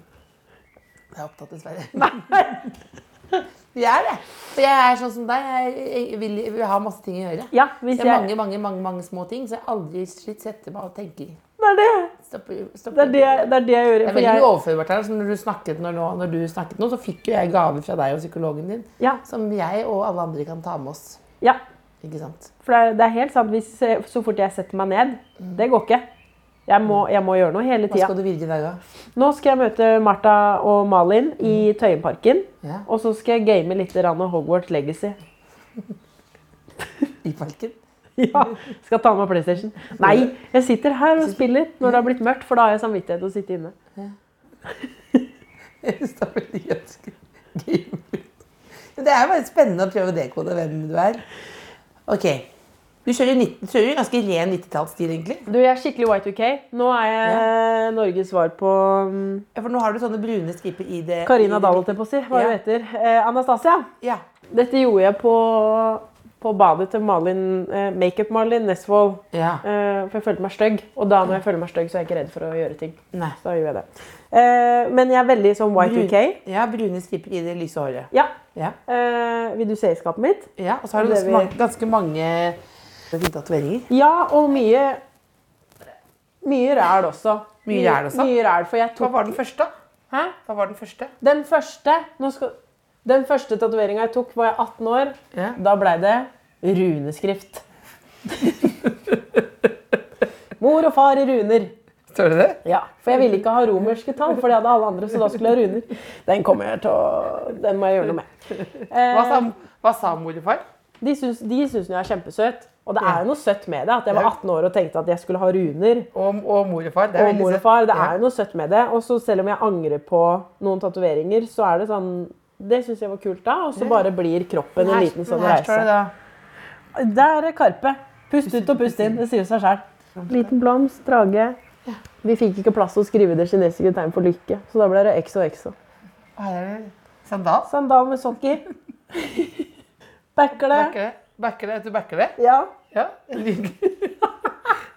Speaker 3: er opptatt, dessverre. Vi er det. For jeg er sånn som deg. Jeg, jeg vil, jeg vil ha masse ting å gjøre.
Speaker 5: Ja, hvis
Speaker 3: Det
Speaker 5: jeg
Speaker 3: er mange, mange, mange, mange små ting, så jeg aldri slitt setter meg og tenker.
Speaker 5: Det er det,
Speaker 3: Stopper, stopper.
Speaker 5: det, er det, det, er det jeg gjør.
Speaker 3: Det er
Speaker 5: for
Speaker 3: veldig
Speaker 5: jeg-
Speaker 3: overførbart her. så Når du snakket nå, nå- når du snakket nå, så fikk jo jeg gaver fra deg og psykologen din.
Speaker 5: Ja.
Speaker 3: Som jeg og alle andre kan ta med oss.
Speaker 5: ja.
Speaker 3: Ikke sant?
Speaker 5: For det er, det er helt sant, hvis, så fort jeg setter meg ned, det går ikke. Jeg må, jeg må gjøre noe hele
Speaker 3: Hva
Speaker 5: tida.
Speaker 3: skal du videre i dag, da?
Speaker 5: Nå skal jeg møte Martha og Malin i Tøyenparken.
Speaker 3: Ja.
Speaker 5: Og så skal jeg game litt grann Hogwarts Legacy.
Speaker 3: I parken?
Speaker 5: Ja, Skal ta med PlayStation. Nei, jeg sitter her og spiller når det har blitt mørkt, for da har jeg samvittighet til å sitte inne.
Speaker 3: Jeg synes det er veldig ganske gøy. Men Det er jo bare spennende å prøve å dekode hvem du er. Ok. Du kjører, 19, du kjører jo ganske ren 90-tallsstil, egentlig.
Speaker 5: Du, jeg er skikkelig Y2K. Nå er jeg Norges svar på mm,
Speaker 3: Ja, For nå har du sånne brune striper i det
Speaker 5: Karina
Speaker 3: i det-
Speaker 5: Dahl, holdt jeg på å si. Hva
Speaker 3: Ja.
Speaker 5: hun heter. Eh, Anastasia.
Speaker 3: Ja.
Speaker 5: Dette gjorde jeg på, på badet til Malin, eh, makeup-Malin Nesvold.
Speaker 3: ja.
Speaker 5: Eh, for jeg følte meg stygg, og da når jeg føler meg stygg, så er jeg ikke redd for å gjøre ting.
Speaker 3: Nei.
Speaker 5: Så da gjør jeg det. Eh, men jeg er veldig sånn Y2K.
Speaker 3: Brun- Ja, brune striper i det lyse håret.
Speaker 5: Ja.
Speaker 3: Ja.
Speaker 5: Eh, vil du se i skapet mitt?
Speaker 3: ja. Og så har du
Speaker 5: Det
Speaker 3: ganske
Speaker 5: vil-
Speaker 3: mange, ganske mange fine tatoveringer.
Speaker 5: Ja, og mye Mye ræl også.
Speaker 3: Mye ræl også?
Speaker 5: Mye ræl, for jeg
Speaker 3: Hva
Speaker 5: tok
Speaker 3: var den første? Hæ? Hva var den første?
Speaker 5: Den første nå skal, Den første tatoveringa jeg tok, var jeg 18 år.
Speaker 3: Ja.
Speaker 5: Da blei det runeskrift. Mor og far i runer.
Speaker 3: Står det det?
Speaker 5: Ja, For jeg ville ikke ha romerske tall, for det hadde alle andre. Så da skulle jeg ha runer. Den kommer jeg til å Den må jeg gjøre noe med.
Speaker 3: Hva sa,
Speaker 5: Eh,
Speaker 3: hva sa mor og far?
Speaker 5: de syns de syns jeg er kjempesøt. Og det er jo noe søtt med det. At jeg var 18 år og tenkte at jeg skulle ha runer.
Speaker 3: Og, og mor og far? Det er
Speaker 5: og
Speaker 3: veldig
Speaker 5: mor og
Speaker 3: søtt.
Speaker 5: far. Det
Speaker 3: Ja.
Speaker 5: er jo noe søtt med det. Og så selv om jeg angrer på noen tatoveringer, så er det sånn Det syns jeg var kult da. Og så bare blir kroppen en
Speaker 3: Her-
Speaker 5: liten sånn
Speaker 3: Her står det
Speaker 5: reise.
Speaker 3: da
Speaker 5: Der er Karpe. Pust ut og pust inn. Det sier seg sjøl. Liten blomst, drage. Vi fikk ikke plass til å skrive det kinesiske tegn for lykke, så da ble det exo-exo.
Speaker 3: Her er det sandal.
Speaker 5: Sandal med sokker. Backer det.
Speaker 3: Backer det? Backer det? Du backer det?
Speaker 5: Ja.
Speaker 3: Ja.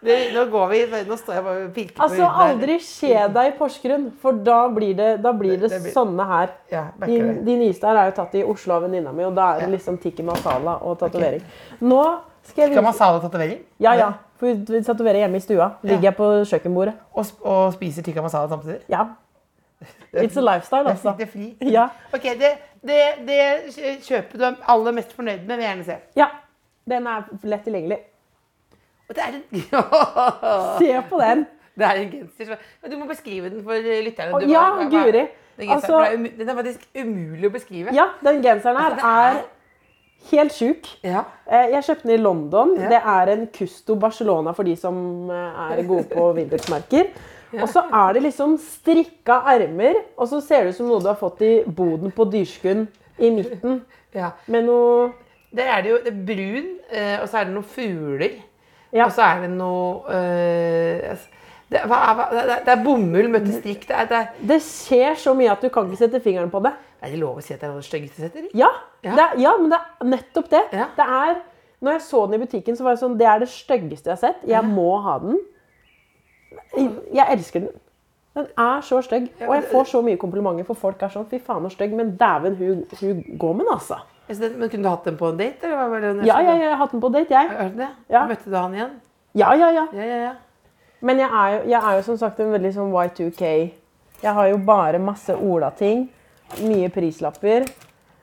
Speaker 3: det, nå går vi Nå står jeg bare og pirker på
Speaker 5: Altså,
Speaker 3: ryggen her.
Speaker 5: aldri skje deg i Porsgrunn, for da blir det, da blir det,
Speaker 3: Det- det blir-
Speaker 5: sånne her.
Speaker 3: Ja,
Speaker 5: De,
Speaker 3: backer det.
Speaker 5: de nyeste her er jo tatt i Oslo av venninna mi, og da er det liksom tikki masala og tatovering. Nå skal jeg
Speaker 3: Skal man
Speaker 5: vise
Speaker 3: sala tatovering?
Speaker 5: Ja, ja. For vi tatoverer hjemme i stua. Ligger jeg på kjøkkenbordet.
Speaker 3: Og, sp- og spiser tikka masala samtidig?
Speaker 5: Ja. It's a lifestyle,
Speaker 3: Jeg
Speaker 5: altså.
Speaker 3: sitter fri.
Speaker 5: Ja.
Speaker 3: Ok, det, det, det kjø- kjøpet du er aller mest fornøyd med, vil jeg gjerne se.
Speaker 5: ja. Den er lett tilgjengelig.
Speaker 3: Og det er en,
Speaker 5: Se på den!
Speaker 3: det er en genser. som- Men Du må beskrive den for lytterne.
Speaker 5: Å,
Speaker 3: Du
Speaker 5: ja,
Speaker 3: hva- hva-
Speaker 5: Guri.
Speaker 3: Den, genseren,
Speaker 5: Altså-
Speaker 3: for det er umu- den er faktisk umulig å beskrive.
Speaker 5: Ja, den genseren
Speaker 3: Altså,
Speaker 5: her er helt sjuk.
Speaker 3: Ja.
Speaker 5: Eh, Jeg kjøpte den i London.
Speaker 3: Ja.
Speaker 5: Det er en Custo Barcelona for de som eh, er gode på vintage-merker. Og så er det liksom strikka ermer, og så ser det ut som noe du har fått i boden på Dyrskund i midten.
Speaker 3: ja.
Speaker 5: Med noe
Speaker 3: Der er det jo det er brun, eh, og så er det noen fugler.
Speaker 5: Ja.
Speaker 3: Og så er det noe eh, det, er- hva, er- hva, det, er- det er bomull møtt med strikk. Det er, det, er,
Speaker 5: Det skjer så mye at du kan ikke sette fingeren på det.
Speaker 3: er det lov å si at det er noe styggeste sett, eller?
Speaker 5: Ja,
Speaker 3: Ja.
Speaker 5: Det er, ja men det er nettopp det.
Speaker 3: Ja.
Speaker 5: Det er Når jeg så den i butikken, så var jeg sånn Det er det styggeste jeg har sett. Jeg må ha den. Jeg- Jeg elsker den. Den er så stygg. Og jeg får så mye komplimenter, for folk er sånn Fy faen, så stygg, men dæven, hun, hun går med den, altså.
Speaker 3: Altså, det- Men kunne du hatt den på en date? Eller hva var det
Speaker 5: Ja, ja, ja, jeg har hatt den på date, jeg.
Speaker 3: Hørte du det?
Speaker 5: Ja.
Speaker 3: Møtte du han igjen?
Speaker 5: Ja, ja, ja.
Speaker 3: Ja, ja, ja.
Speaker 5: Men jeg er, jo, jeg er jo som sagt en veldig sånn Y2K. Jeg har jo bare masse Ola-ting. Mye prislapper.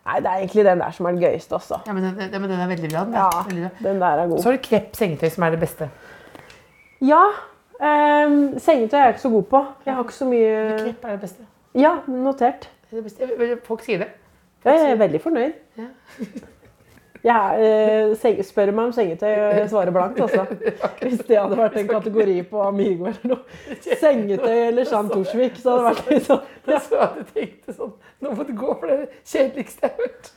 Speaker 5: Nei, det er egentlig den der som er den gøyeste, altså.
Speaker 3: Ja, men den, den, men den er veldig bra. Den,
Speaker 5: Ja,
Speaker 3: er veldig bra.
Speaker 5: den der er god.
Speaker 3: Så har du krepp sengetøy, som er det beste.
Speaker 5: Ja. ehm, sengetøy er jeg ikke så god på. Jeg har ikke så mye
Speaker 3: Krepp er det beste.
Speaker 5: Ja, notert.
Speaker 3: Det er det beste. Vel, Folk sier det.
Speaker 5: Jeg er veldig fornøyd.
Speaker 3: Ja.
Speaker 5: Jeg er, eh, seng- spør meg om sengetøy, og jeg svarer blankt, altså. Hvis det hadde vært en kategori på Amigo eller noe. Sengetøy eller Jean Torsvik, så hadde det vært litt sånn.
Speaker 3: Da så jeg at du tenkte sånn Nå må du gå for det er det kjedeligste jeg har hørt.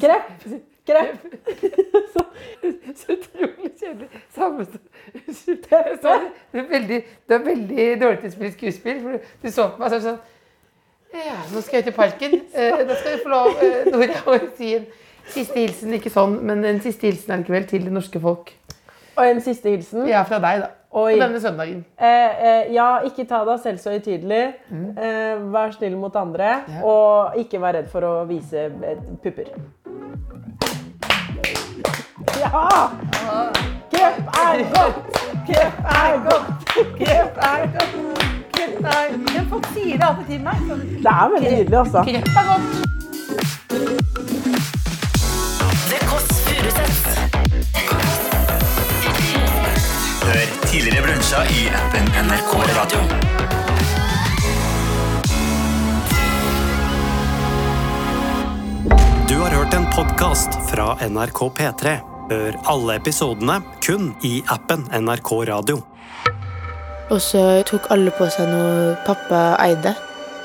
Speaker 5: Krepp! Krepp! Så,
Speaker 3: Så utrolig kjedelig. Samme som Unnskyld. Jeg så det. Du er veldig, du er veldig dårlig til å spille skuespill. For du- du så på meg og sa sånn Ja, nå skal jeg ut i parken. Eh, da skal du få lov, eh, Nora, å si en siste hilsen. Ikke sånn, men en siste hilsen allikevel til det norske folk.
Speaker 5: og en siste hilsen.
Speaker 3: Ja, fra deg, da.
Speaker 5: Oi.
Speaker 3: På denne søndagen.
Speaker 5: Eh, eh, ja, ikke ta deg selv så høytidelig. Eh, vær snill mot andre. Og ikke vær redd for å vise eh, pupper. Ja! Krep er godt! Krep er godt! Krep er godt! Krep er
Speaker 3: Men folk sier det alltid til meg. sånn,
Speaker 5: Det er veldig nydelig, altså.
Speaker 3: Krepp er godt.
Speaker 2: Det Kåss Furuseths.
Speaker 7: Hør tidligere brunsja i appen NRK Radio.
Speaker 1: Du har hørt en podkast fra NRK P3. Hør alle episodene kun i appen NRK Radio.
Speaker 8: Og så tok alle på seg noe pappa eide.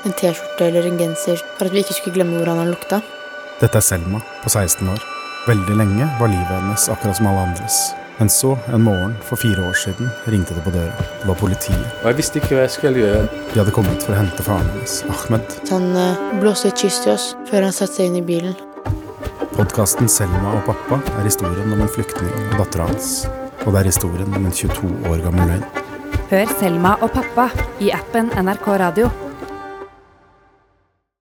Speaker 8: En T-skjorte eller en genser, for at vi ikke skulle glemme hvordan han lukta.
Speaker 9: Dette er Selma på 16 år. Veldig lenge var livet hennes akkurat som alle andres. Men så, en morgen for fire år siden, ringte det på døra. Det var politiet.
Speaker 10: Og jeg visste ikke hva jeg skulle gjøre.
Speaker 9: De hadde kommet for å hente faren hennes, Ahmed.
Speaker 8: Så han eh, blåste et kyss til oss før han satte seg inn i bilen.
Speaker 9: Podkasten 'Selma og pappa' er historien om en flyktning og dattera hans. Og det er historien om en 22 år gammel løgn.
Speaker 11: Hør Selma og pappa i appen NRK Radio.